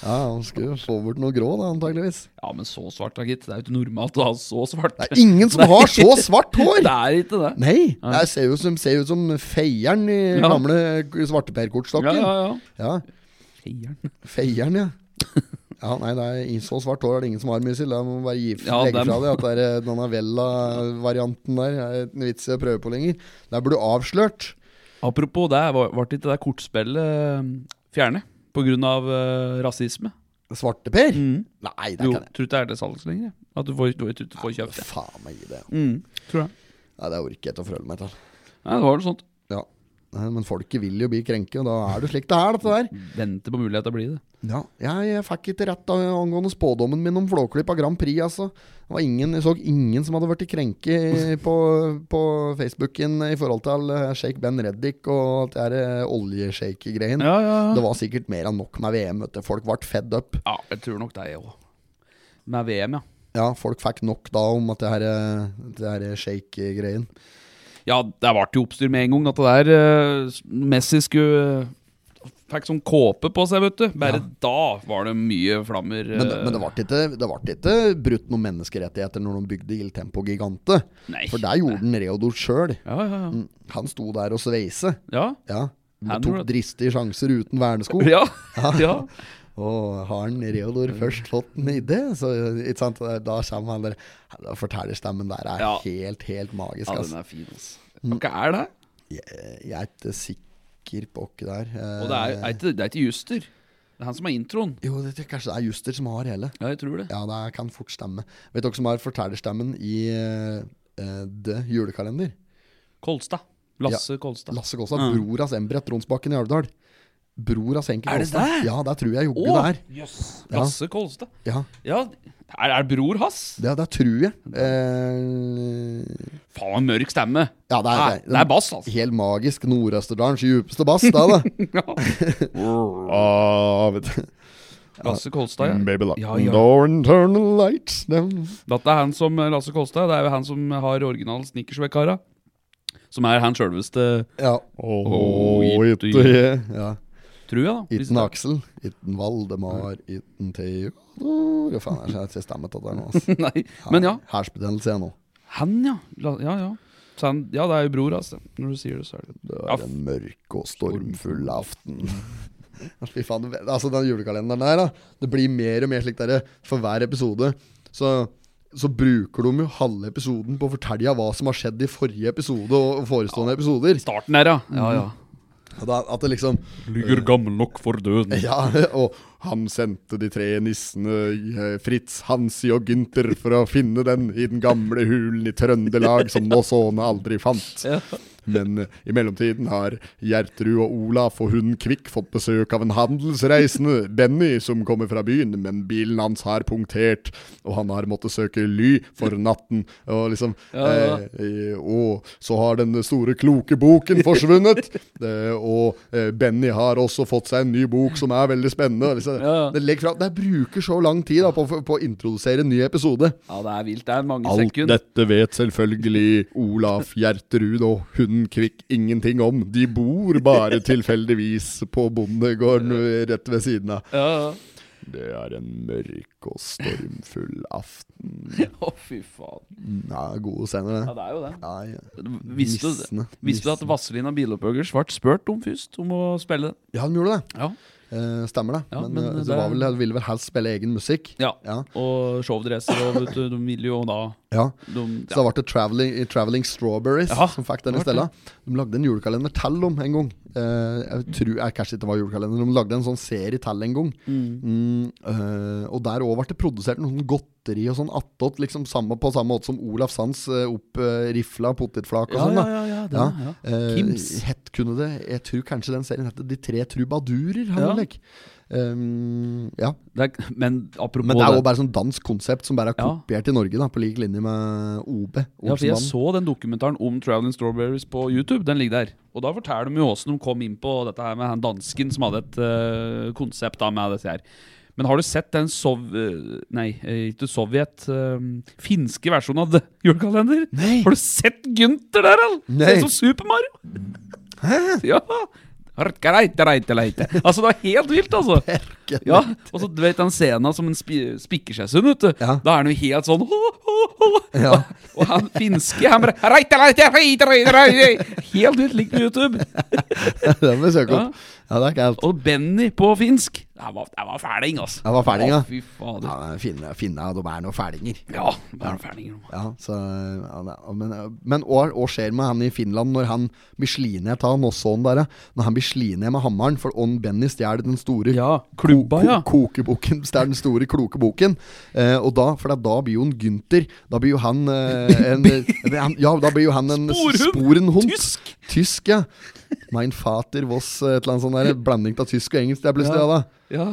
Speaker 1: Ja, Han skulle få bort noe grå, da, antageligvis.
Speaker 2: ja, men så svart da, gitt. Det er jo ikke normalt å ha så svart.
Speaker 1: Det
Speaker 2: (laughs)
Speaker 1: er ingen som har så svart hår!
Speaker 2: Det er ikke det.
Speaker 1: Nei! Det ser jo ut som, ser ut som feieren i
Speaker 2: Ja.
Speaker 1: gamle
Speaker 2: Ja,
Speaker 1: svarteperkortstokken.
Speaker 2: ja, ja.
Speaker 1: ja.
Speaker 2: Heieren.
Speaker 1: Feieren,
Speaker 2: (laughs)
Speaker 1: ja. Ja, nei, det er i så svart hår er det ingen som har, Mysil. Da må man bare gi,
Speaker 2: Ja,
Speaker 1: legge
Speaker 2: dem.
Speaker 1: fra deg at det er eh, denne Vella-varianten der er ikke vits i å prøve på lenger. Der blir du avslørt.
Speaker 2: Apropos det, ble ikke det kortspillet um, fjernet pga. Uh, rasisme?
Speaker 1: Svarteper? Nei, det
Speaker 2: Jo,
Speaker 1: kan jeg
Speaker 2: tror ikke det er til salgs lenger. jeg. At du får, du vet, du får kjøpt det.
Speaker 1: faen meg i det.
Speaker 2: Mm, tror jeg.
Speaker 1: Nei, det orker jeg ikke å føle meg til.
Speaker 2: Nei, det var noe sånt.
Speaker 1: Ja. Nei, men folket vil jo bli krenket, og da er det slik det er, dette der.
Speaker 2: Venter på mulighet til å bli det.
Speaker 1: Ja, jeg, jeg fikk ikke rett av- angående spådommen min om Flåklypa Grand Prix, altså. Det var ingen, jeg så ingen som hadde vært krenket på, på Facebooken i forhold til eh, Shake Ben Reddik og alt det der eh, oljeshake-greien.
Speaker 2: Ja, ja, ja.
Speaker 1: Det var sikkert mer enn nok med VM, vet du. Folk ble fed up.
Speaker 2: Ja, jeg tror nok det, jeg òg. Med VM, ja.
Speaker 1: Ja, folk fikk nok da om at det her, eh, det her shake-greien.
Speaker 2: Ja, det ble jo oppstyr med en gang. At det der eh, Messi skulle Fikk sånn kåpe på seg, vet du. Bare da var det mye flammer.
Speaker 1: Men,
Speaker 2: eh,
Speaker 1: men det ble ikke, det ble ikke brutt noen menneskerettigheter når de bygde Il Tempo Gigante.
Speaker 2: eh, Nei.
Speaker 1: For Mm. der gjorde den Reodor sjøl.
Speaker 2: Ja, ja, ja.
Speaker 1: Han sto der og sveise.
Speaker 2: Ja.
Speaker 1: Ja.
Speaker 2: Han
Speaker 1: Han tok
Speaker 2: gjorde det.
Speaker 1: dristige sjanser uten vernesko. (laughs)
Speaker 2: Ja. ja.
Speaker 1: Og har han Reodor først fått en idé, så ikke sant? da kommer han der Da Fortellerstemmen der er
Speaker 2: Ja.
Speaker 1: helt, helt magisk.
Speaker 2: ja,
Speaker 1: Altså.
Speaker 2: den er fin, altså. Hva er det?
Speaker 1: Jeg, jeg er ikke sikker på hva det er.
Speaker 2: Og det
Speaker 1: Eh.
Speaker 2: er, er, ikke, det er ikke Juster. Det er han som har introen.
Speaker 1: Jo, det, det, kanskje det er Juster som har hele.
Speaker 2: Ja, jeg tror det.
Speaker 1: Ja, det er- kan fort stemme. Vet dere som har fortellerstemmen i uh, The Julekalender?
Speaker 2: Kolstad. Lasse Kolstad.
Speaker 1: Lasse Gåstad, bror av Embret Tronsbakken i Alvdal. Bror av Senken
Speaker 2: Er det
Speaker 1: Gåstad.
Speaker 2: det?
Speaker 1: Ja, det tror jeg jogge det
Speaker 2: Å,
Speaker 1: er.
Speaker 2: jøss.
Speaker 1: Ja.
Speaker 2: Lasse Kolstad.
Speaker 1: Ja,
Speaker 2: Ja, er, er bror hans?
Speaker 1: det, det tror jeg. Eh,
Speaker 2: Faen, mørk stemme.
Speaker 1: ja, det er,
Speaker 2: Nei, det er bass,
Speaker 1: (laughs)
Speaker 2: altså.
Speaker 1: Helt
Speaker 2: (laughs)
Speaker 1: magisk. Nordøsterdalens djupeste bass, det, da.
Speaker 2: Ja.
Speaker 1: Ah, vet du.
Speaker 2: Lasse Kolstad, ja.
Speaker 6: Baby lock.
Speaker 2: Ja, ja.
Speaker 6: Don't turn the lights down.
Speaker 2: Dette er han som eh, Lasse Kolstad, det er jo han som har original snickersvekkara. Som er han sjølveste,
Speaker 1: Ja.
Speaker 6: Oh,
Speaker 2: it-
Speaker 6: it, yeah.
Speaker 1: ja.
Speaker 2: tror jeg, da. Hvis-
Speaker 1: Itten Aksel, itten Valdemar, itten Theodor Hva faen er det jeg ikke stemmer til der nå? ass.
Speaker 2: (laughs) Nei, men ja.
Speaker 1: Hersbetennelse er nå.
Speaker 2: Han, ja. La, ja, ja. Så han, ja, det er jo bror, altså. Når du sier det, så er det
Speaker 1: Det
Speaker 2: Ja,
Speaker 1: er
Speaker 2: f-
Speaker 1: en mørk og stormfull aften. (laughs) Fy faen, det- altså Den julekalenderen der, da. Det blir mer og mer slik der for hver episode. Så, så bruker de jo halve episoden på å fortelle hva som har skjedd i forrige episode og forestående episoder.
Speaker 2: Starten her, ja. ja, ja.
Speaker 1: At, at det liksom
Speaker 2: Ligger gammel nok for døden.
Speaker 6: (laughs)
Speaker 1: Ja, og
Speaker 6: Han sendte de tre nissene, eh, Fritz, Hansi og Gynter, for å finne den i den gamle hulen i Trøndelag
Speaker 2: (laughs)
Speaker 6: som Nåsåne aldri fant.
Speaker 2: Ja.
Speaker 6: Men eh, i mellomtiden har Gjertrud og Olaf og hun Kvikk fått besøk av en handelsreisende,
Speaker 2: (laughs)
Speaker 6: Benny, som kommer fra byen, men bilen hans har punktert, og han har måttet søke ly for natten. Og liksom
Speaker 2: Ja,
Speaker 6: eh, Eh, og så har den store, kloke boken
Speaker 2: (laughs)
Speaker 6: forsvunnet. Eh, og eh, Benny har også fått seg en ny bok som er veldig spennende. Liksom.
Speaker 2: Ja.
Speaker 6: Det, legger fra, det bruker så lang tid da, på, på å introdusere en ny episode.
Speaker 2: Ja, det er vilt. Det er mange
Speaker 6: Alt
Speaker 2: sekunder.
Speaker 6: dette vet selvfølgelig Olaf Gjertrud og hunden Kvikk ingenting om. De bor
Speaker 2: (laughs)
Speaker 6: bare tilfeldigvis på bondegården rett ved siden av.
Speaker 2: Ja, ja. (laughs)
Speaker 6: Det er en mørk og stormfull aften.
Speaker 2: (laughs) Å, fy faen.
Speaker 1: Ja, gode scener, det.
Speaker 2: Ja, det er jo det.
Speaker 1: Ja, ja.
Speaker 2: Visste du,
Speaker 1: Nissene.
Speaker 2: visste du at Vazelina Bilopphøggers ble spurt om først, om å spille det?
Speaker 1: ja, de gjorde det.
Speaker 2: Ja.
Speaker 1: Eh, stemmer det.
Speaker 2: Ja,
Speaker 1: men
Speaker 2: men
Speaker 1: eh,
Speaker 2: det
Speaker 1: det var
Speaker 2: er-
Speaker 1: vel, de ville vel helst spille egen musikk.
Speaker 2: ja.
Speaker 1: Ja.
Speaker 2: Og showdresser og vet du, de ville jo da
Speaker 1: Ja.
Speaker 2: de,
Speaker 1: Så da ble det Traveling, Traveling Strawberries
Speaker 2: Ja,
Speaker 1: som fikk den i
Speaker 2: det ble
Speaker 1: stedet. De lagde en julekalender til om en gang. Eh, jeg tror jeg kanskje ikke det var julekalender, de lagde en sånn serie til en gang. Mm, eh, og der òg ble det produsert noe sånn godteri og sånn attåt, liksom samme, på samme måte som Olaf Sands eh, opprifla potetflak og
Speaker 2: Ja,
Speaker 1: sånn.
Speaker 2: ja,
Speaker 1: da.
Speaker 2: ja. ja,
Speaker 1: Ja.
Speaker 2: den, ja.
Speaker 1: Eh,
Speaker 2: Kims.
Speaker 1: het kunne det Jeg tror kanskje den serien heter De tre trubadurer.
Speaker 2: Ja.
Speaker 1: Ja. Um, ja.
Speaker 2: Det er, men apropos
Speaker 1: Men det er jo
Speaker 2: det.
Speaker 1: bare sånn dansk konsept som bare er
Speaker 2: Ja.
Speaker 1: kopiert i Norge, da på lik linje med OB.
Speaker 2: Ja, for jeg
Speaker 1: Olsenbanden.
Speaker 2: så den dokumentaren om Traveling Strawberries på YouTube. Den ligger der. Og da forteller de jo åssen de kom inn på dette her med han dansken som hadde et eh, konsept da med dette her. Men har du sett den sov... eh, nei, eh, ikke Sovjet eh, Finske versjonen av det, (laughs) julekalender?
Speaker 1: Nei.
Speaker 2: Har du sett Gunther der, eller?
Speaker 1: Nei.
Speaker 2: Ser ut som Super Mario! ja. Reite, reite, reite. Altså, det var helt vilt, altså.
Speaker 1: (laughs)
Speaker 2: Ja, og så du vet den scenen som en spi spikker seg sunn, vet du.
Speaker 1: Ja.
Speaker 2: Da er han jo helt sånn «Hå, hå, hå».
Speaker 1: Ja.
Speaker 2: og, og han finske, han bare «Reite, reite, reite, reite, reite». Helt ut likt på YouTube.
Speaker 1: Den må vi søke opp. Ja, det er ikke helt
Speaker 2: Og Benny på finsk. Det var, det var fæling, altså.
Speaker 1: Det var fæling, ja.
Speaker 2: Å, fy
Speaker 1: Ja,
Speaker 2: fader.
Speaker 1: men finne, finne de er noen fælinger.
Speaker 2: Ja, det var fælinger. nå.
Speaker 1: Ja, så, ja, det, men men hva, hva skjer med han i Finland når han blir sliten ned av Nosson der? ja? Når han blir sliten ned med hammeren, for on Benny stjeler den store
Speaker 2: Ja, klubba,
Speaker 1: ko-
Speaker 2: ja.
Speaker 1: kokeboken. Det er den store kloke boken. Eh, og da, for da- da blir jo en Gunther Da blir jo han eh,
Speaker 2: (laughs)
Speaker 1: en, en- han- Ja, da blir jo han en
Speaker 2: Sporhund.
Speaker 1: sporenhund.
Speaker 2: Tysk.
Speaker 1: Tysk, ja. Mein Vater was eh, et eller annet sånt der. Blanding av tysk og engelsk. Det er plutselig
Speaker 2: Ja.
Speaker 1: ja. da.
Speaker 2: Ja.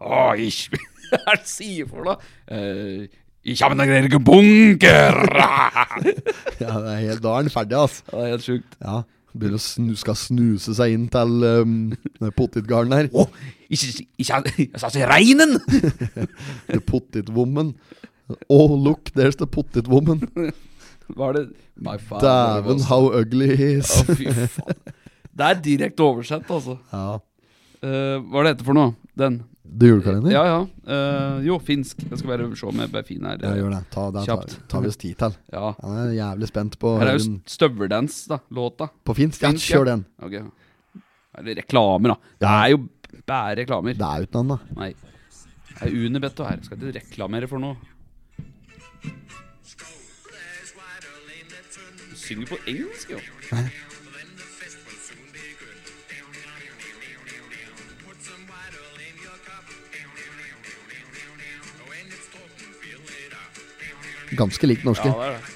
Speaker 2: Å, ich Hva er det du sier for noe? Eh, ich habe einen greigen bunker! ja,
Speaker 1: Ja, det er helt, da er han ferdig, altså.
Speaker 2: det er helt sjukt.
Speaker 1: Ja, begynner å snu, skal snuse seg inn til um, potetgarden her.
Speaker 2: Å, ich, ich, ich, jeg sa til regnen!
Speaker 1: The potetwoman. Oh, look, there's the potetwoman.
Speaker 2: Var det My father
Speaker 1: Dæven,
Speaker 2: was-
Speaker 1: how ugly he is.
Speaker 2: Å, fy faen. Det er direkte oversett, altså.
Speaker 1: Ja.
Speaker 2: Eh, hva er det dette for noe? Den?
Speaker 1: Det er julekalender?
Speaker 2: Ja, ja. Eh, jo, finsk. Jeg skal bare se om jeg bare finner her.
Speaker 1: Ja, gjør det. Ta, det tar,
Speaker 2: Kjapt.
Speaker 1: tar vi oss tid til.
Speaker 2: Ja.
Speaker 1: Han er jævlig spent på,
Speaker 2: Her er jo
Speaker 1: den-
Speaker 2: st- støveldans, da. Låta.
Speaker 1: på finsk. Ja,
Speaker 2: Finsk, ja.
Speaker 1: kjør den.
Speaker 2: Ok. Eller reklamer, da. Det er jo bare reklamer.
Speaker 1: Det er uten han, da.
Speaker 2: Nei. Det er Unibet og her. Skal ikke reklamere for noe. Du Synger på engelsk, jo.
Speaker 1: Ganske lik den norske.
Speaker 2: Ja, det er det.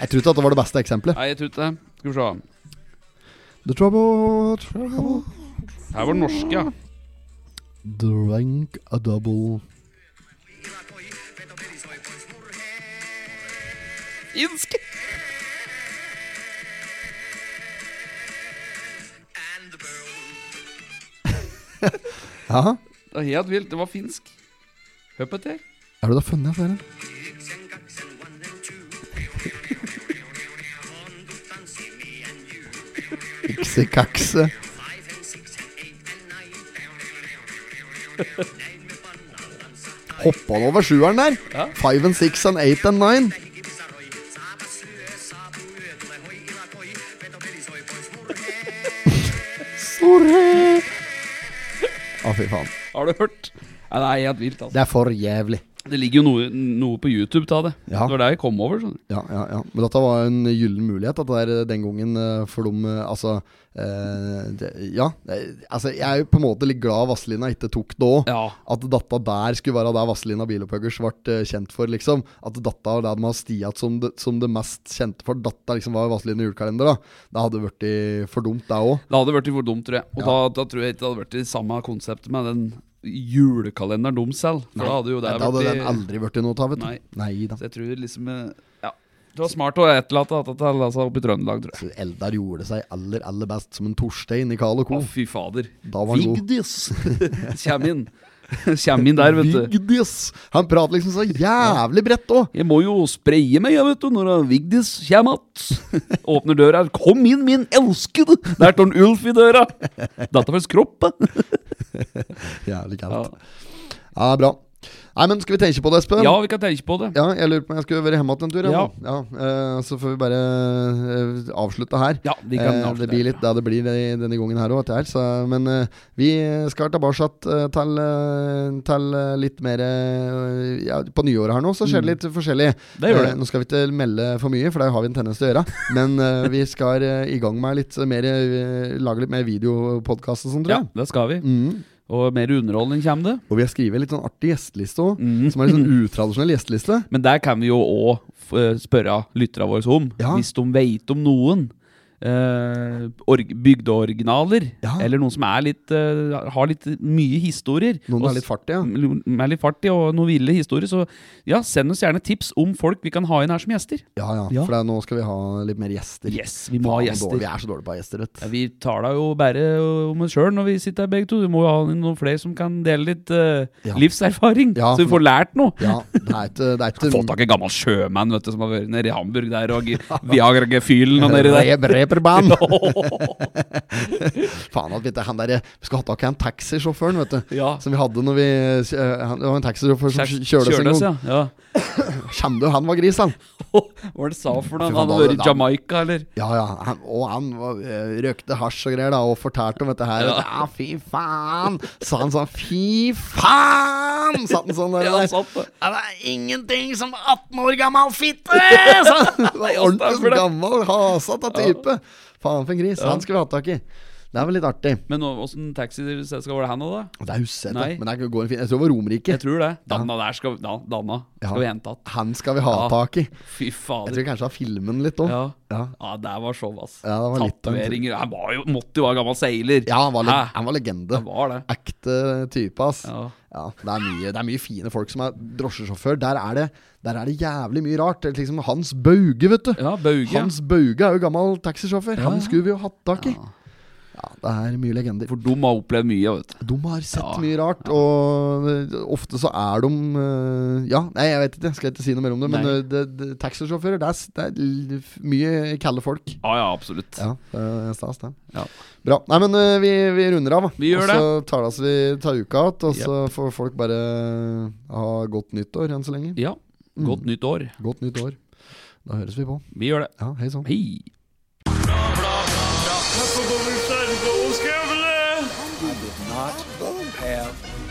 Speaker 1: Jeg tror ikke at det var det beste eksempelet.
Speaker 2: Nei, jeg tror ikke det. Skal vi se.
Speaker 1: The trouble, trouble
Speaker 2: Her var den norske, ja.
Speaker 1: Drink a double
Speaker 2: Finsk!
Speaker 1: Jaha.
Speaker 2: Det er helt vilt. Det var finsk. Hør på dette. her.
Speaker 1: Er du da funnet, Sverre? Ikse-kakse. Hoppa han over sjueren der?
Speaker 2: Ja.
Speaker 1: Five and six and eight and nine. Sorry. Å, fy faen.
Speaker 2: Har du hørt? Ja, det er helt vilt, altså.
Speaker 1: Det er for jævlig.
Speaker 2: Det ligger jo noe, noe på YouTube av det.
Speaker 1: Ja.
Speaker 2: Det var det jeg kom over. Sånn.
Speaker 1: Ja, ja, ja. Men dette var en gyllen mulighet at det er den gangen eh, for dem eh, Altså eh, det, Ja. eh, Altså, jeg er jo på en måte litt glad Vazelina ikke tok det òg.
Speaker 2: Ja.
Speaker 1: At dette der skulle være det Vazelina Bilopphuggers ble eh, kjent for, liksom. At dette var det de har stiet som det, som det mest kjente for. Dette liksom var Vazelina julekalender, da. Det hadde blitt for dumt, det òg.
Speaker 2: Det hadde blitt for dumt, tror jeg. Og da, da tror jeg ikke det hadde vært det samme konseptet med den julekalenderen de selv. For da hadde jo det
Speaker 1: Da hadde
Speaker 2: vært-
Speaker 1: den aldri blitt noe av, vet du.
Speaker 2: Nei.
Speaker 1: da.
Speaker 2: Så jeg tror liksom eh, Ja. Det var smart å etterlate dette til altså, oppe i Trøndelag, tror jeg.
Speaker 1: Så Eldar gjorde seg aller, aller best som en Torstein i Carl
Speaker 2: Å,
Speaker 1: Co.
Speaker 2: fy fader.
Speaker 1: Da var han god.
Speaker 2: (laughs) Kjem inn. Kjem inn der, vet du.
Speaker 1: Vigdis! Han prater liksom så jævlig bredt òg.
Speaker 2: Jeg må jo spreie meg, jeg, vet du, når han Vigdis kommer att. (laughs) Åpner døra. Kom inn, min elskede! Der står en Ulf i døra. Dette var hans kropp.
Speaker 1: Jævlig
Speaker 2: Ja.
Speaker 1: kaldt. Ja. det er bra. Nei, men skal vi tenke på det, Espen?
Speaker 2: ja, vi kan tenke på det.
Speaker 1: Ja, jeg lurer på om jeg skulle være hjemme igjen en tur. jeg,
Speaker 2: Ja.
Speaker 1: nå. ja eh, så får vi bare eh, avslutte her.
Speaker 2: Ja, vi kan
Speaker 1: Eh,
Speaker 2: avslutte
Speaker 1: det blir
Speaker 2: her.
Speaker 1: litt det det blir i denne gangen her òg, etter hvert. så- Men eh, vi skal tilbake eh, til, eh, til eh, litt mer eh, ja, På nyåret her nå så skjer det litt forskjellig.
Speaker 2: Mm. Det gjør
Speaker 1: Eh,
Speaker 2: det.
Speaker 1: Nå skal vi ikke melde for mye, for det har vi en tendens til å gjøre. (laughs) Men eh, vi skal eh, i gang med litt mer eh, lage litt mer videopodkast og sånn, tror
Speaker 2: Ja,
Speaker 1: jeg.
Speaker 2: det skal vi.
Speaker 1: Mm.
Speaker 2: Og mer underholdning kommer det.
Speaker 1: Og vi har skrevet litt sånn artig gjesteliste òg,
Speaker 2: Mm.
Speaker 1: som er litt sånn utradisjonell gjesteliste.
Speaker 2: Men der kan vi jo òg spørre lytterne våre om,
Speaker 1: Ja.
Speaker 2: hvis de veit om noen. eh, org bygdeoriginaler,
Speaker 1: Ja.
Speaker 2: eller noen som er litt, eh, har litt mye historier.
Speaker 1: Noen
Speaker 2: Og
Speaker 1: er litt fart i, ja.
Speaker 2: med litt fart i og noen ville historier. Så ja, send oss gjerne tips om folk vi kan ha inn her som gjester.
Speaker 1: Ja, ja,
Speaker 2: Ja.
Speaker 1: for det er, nå skal vi ha litt mer gjester.
Speaker 2: Yes, vi må ha
Speaker 1: Faen, hvor
Speaker 2: gjester.
Speaker 1: Dårlig, vi er så dårlige på å ha gjester, vet
Speaker 2: Ja,
Speaker 1: du.
Speaker 2: vi taler jo bare om oss sjøl når vi sitter her begge to. Vi må jo ha inn noen flere som kan dele litt eh,
Speaker 1: Ja.
Speaker 2: livserfaring,
Speaker 1: Ja,
Speaker 2: så vi
Speaker 1: for-
Speaker 2: får lært noe.
Speaker 1: Ja, det er ikke det er ikke-
Speaker 2: Få tak i en gammel sjømann vet du, som har vært nede i Hamburg der,
Speaker 1: (laughs)
Speaker 2: og Viagra-gefühlen og nedi der.
Speaker 1: Rep-
Speaker 2: (laughs)
Speaker 1: Reperband!
Speaker 2: Åh,
Speaker 1: Faen at vi ikke han der, Vi skal ha tak i han taxisjåføren, vet du.
Speaker 2: Ja.
Speaker 1: Som vi hadde når vi eh, han- Det var en taxisjåfør som
Speaker 2: kjære-
Speaker 1: kj- kjørte oss en
Speaker 2: kjørte oss,
Speaker 1: gang.
Speaker 2: ja. ja. (laughs)
Speaker 1: Kjem du, han var gris, han.
Speaker 2: Åh, Hva var det sa for noe?
Speaker 1: Fy faen,
Speaker 2: Han hadde
Speaker 1: da-
Speaker 2: vært i
Speaker 1: da-
Speaker 2: Jamaica, eller?
Speaker 1: Ja, ja. Han, og han var, eh, røkte hasj og greier, da, og fortalte om dette her.
Speaker 2: Ja.
Speaker 1: Ja, fy faen! Sa han sånn. Fy faen! Satt han sånn der.
Speaker 2: Ja, han satt der.
Speaker 1: Ja, det er ingenting som 18 år gammel fitte! sa han.
Speaker 2: (laughs)
Speaker 1: Det var Ordentlig
Speaker 2: stemmer
Speaker 1: sånn
Speaker 2: det.
Speaker 1: gammel, hasete type. Faen for en gris. Han skulle vi hatt tak i. Det er vel litt artig.
Speaker 2: Men nå, åssen taxiselskap var det han hadde? da?
Speaker 1: Det er huset,
Speaker 2: Nei.
Speaker 1: men det er- går en fin Jeg tror det var Romerike.
Speaker 2: Jeg tror det. Danna der skal, da, Danna skal vi hente att.
Speaker 1: Han skal vi ha
Speaker 2: Ja.
Speaker 1: tak i.
Speaker 2: Fy
Speaker 1: Jeg
Speaker 2: fader.
Speaker 1: tror kanskje jeg har filmen litt òg.
Speaker 2: Ja.
Speaker 1: Ja.
Speaker 2: ja, der var show, ass.
Speaker 1: Ja, det var litt-
Speaker 2: Tatoveringer. Han var jo, måtte jo være gammel seiler.
Speaker 1: Ja, han var, le
Speaker 2: Hæ?
Speaker 1: han var legende.
Speaker 2: Han var det.
Speaker 1: Ekte type, ass.
Speaker 2: Ja.
Speaker 1: Ja, det, er mye, det er mye fine folk som er drosjesjåfør. Der er det, der er det jævlig mye rart. Det er Liksom Hans Bauge, vet du.
Speaker 2: Ja, Bauge.
Speaker 1: Hans Bauge er jo gammel taxisjåfør.
Speaker 2: Ja,
Speaker 1: Han
Speaker 2: ja.
Speaker 1: skulle vi jo hatt tak i. Ja, det er mye legender.
Speaker 2: For de har opplevd mye, vet du.
Speaker 1: De har sett
Speaker 2: Ja,
Speaker 1: mye rart, og eh, ofte så er de eh, Ja, nei, jeg vet ikke, jeg skal ikke si noe mer om det, men
Speaker 2: Nei.
Speaker 1: eh, det, det, taxisjåfører, det er, s- det er l- f- mye kalde folk.
Speaker 2: Ja, ja, absolutt.
Speaker 1: Ja, det er stas, det.
Speaker 2: Ja.
Speaker 1: Bra. Nei, men eh, vi, vi runder av, da.
Speaker 2: Vi gjør
Speaker 1: og så tar det oss vi tar uka igjen, og så får folk bare ha godt nyttår enn så lenge.
Speaker 2: Ja. Godt nytt år.
Speaker 1: Godt nytt år. Da høres vi på.
Speaker 2: Vi gjør det.
Speaker 1: Mm. Ja, hei sann.
Speaker 2: Hei.
Speaker 7: I did not have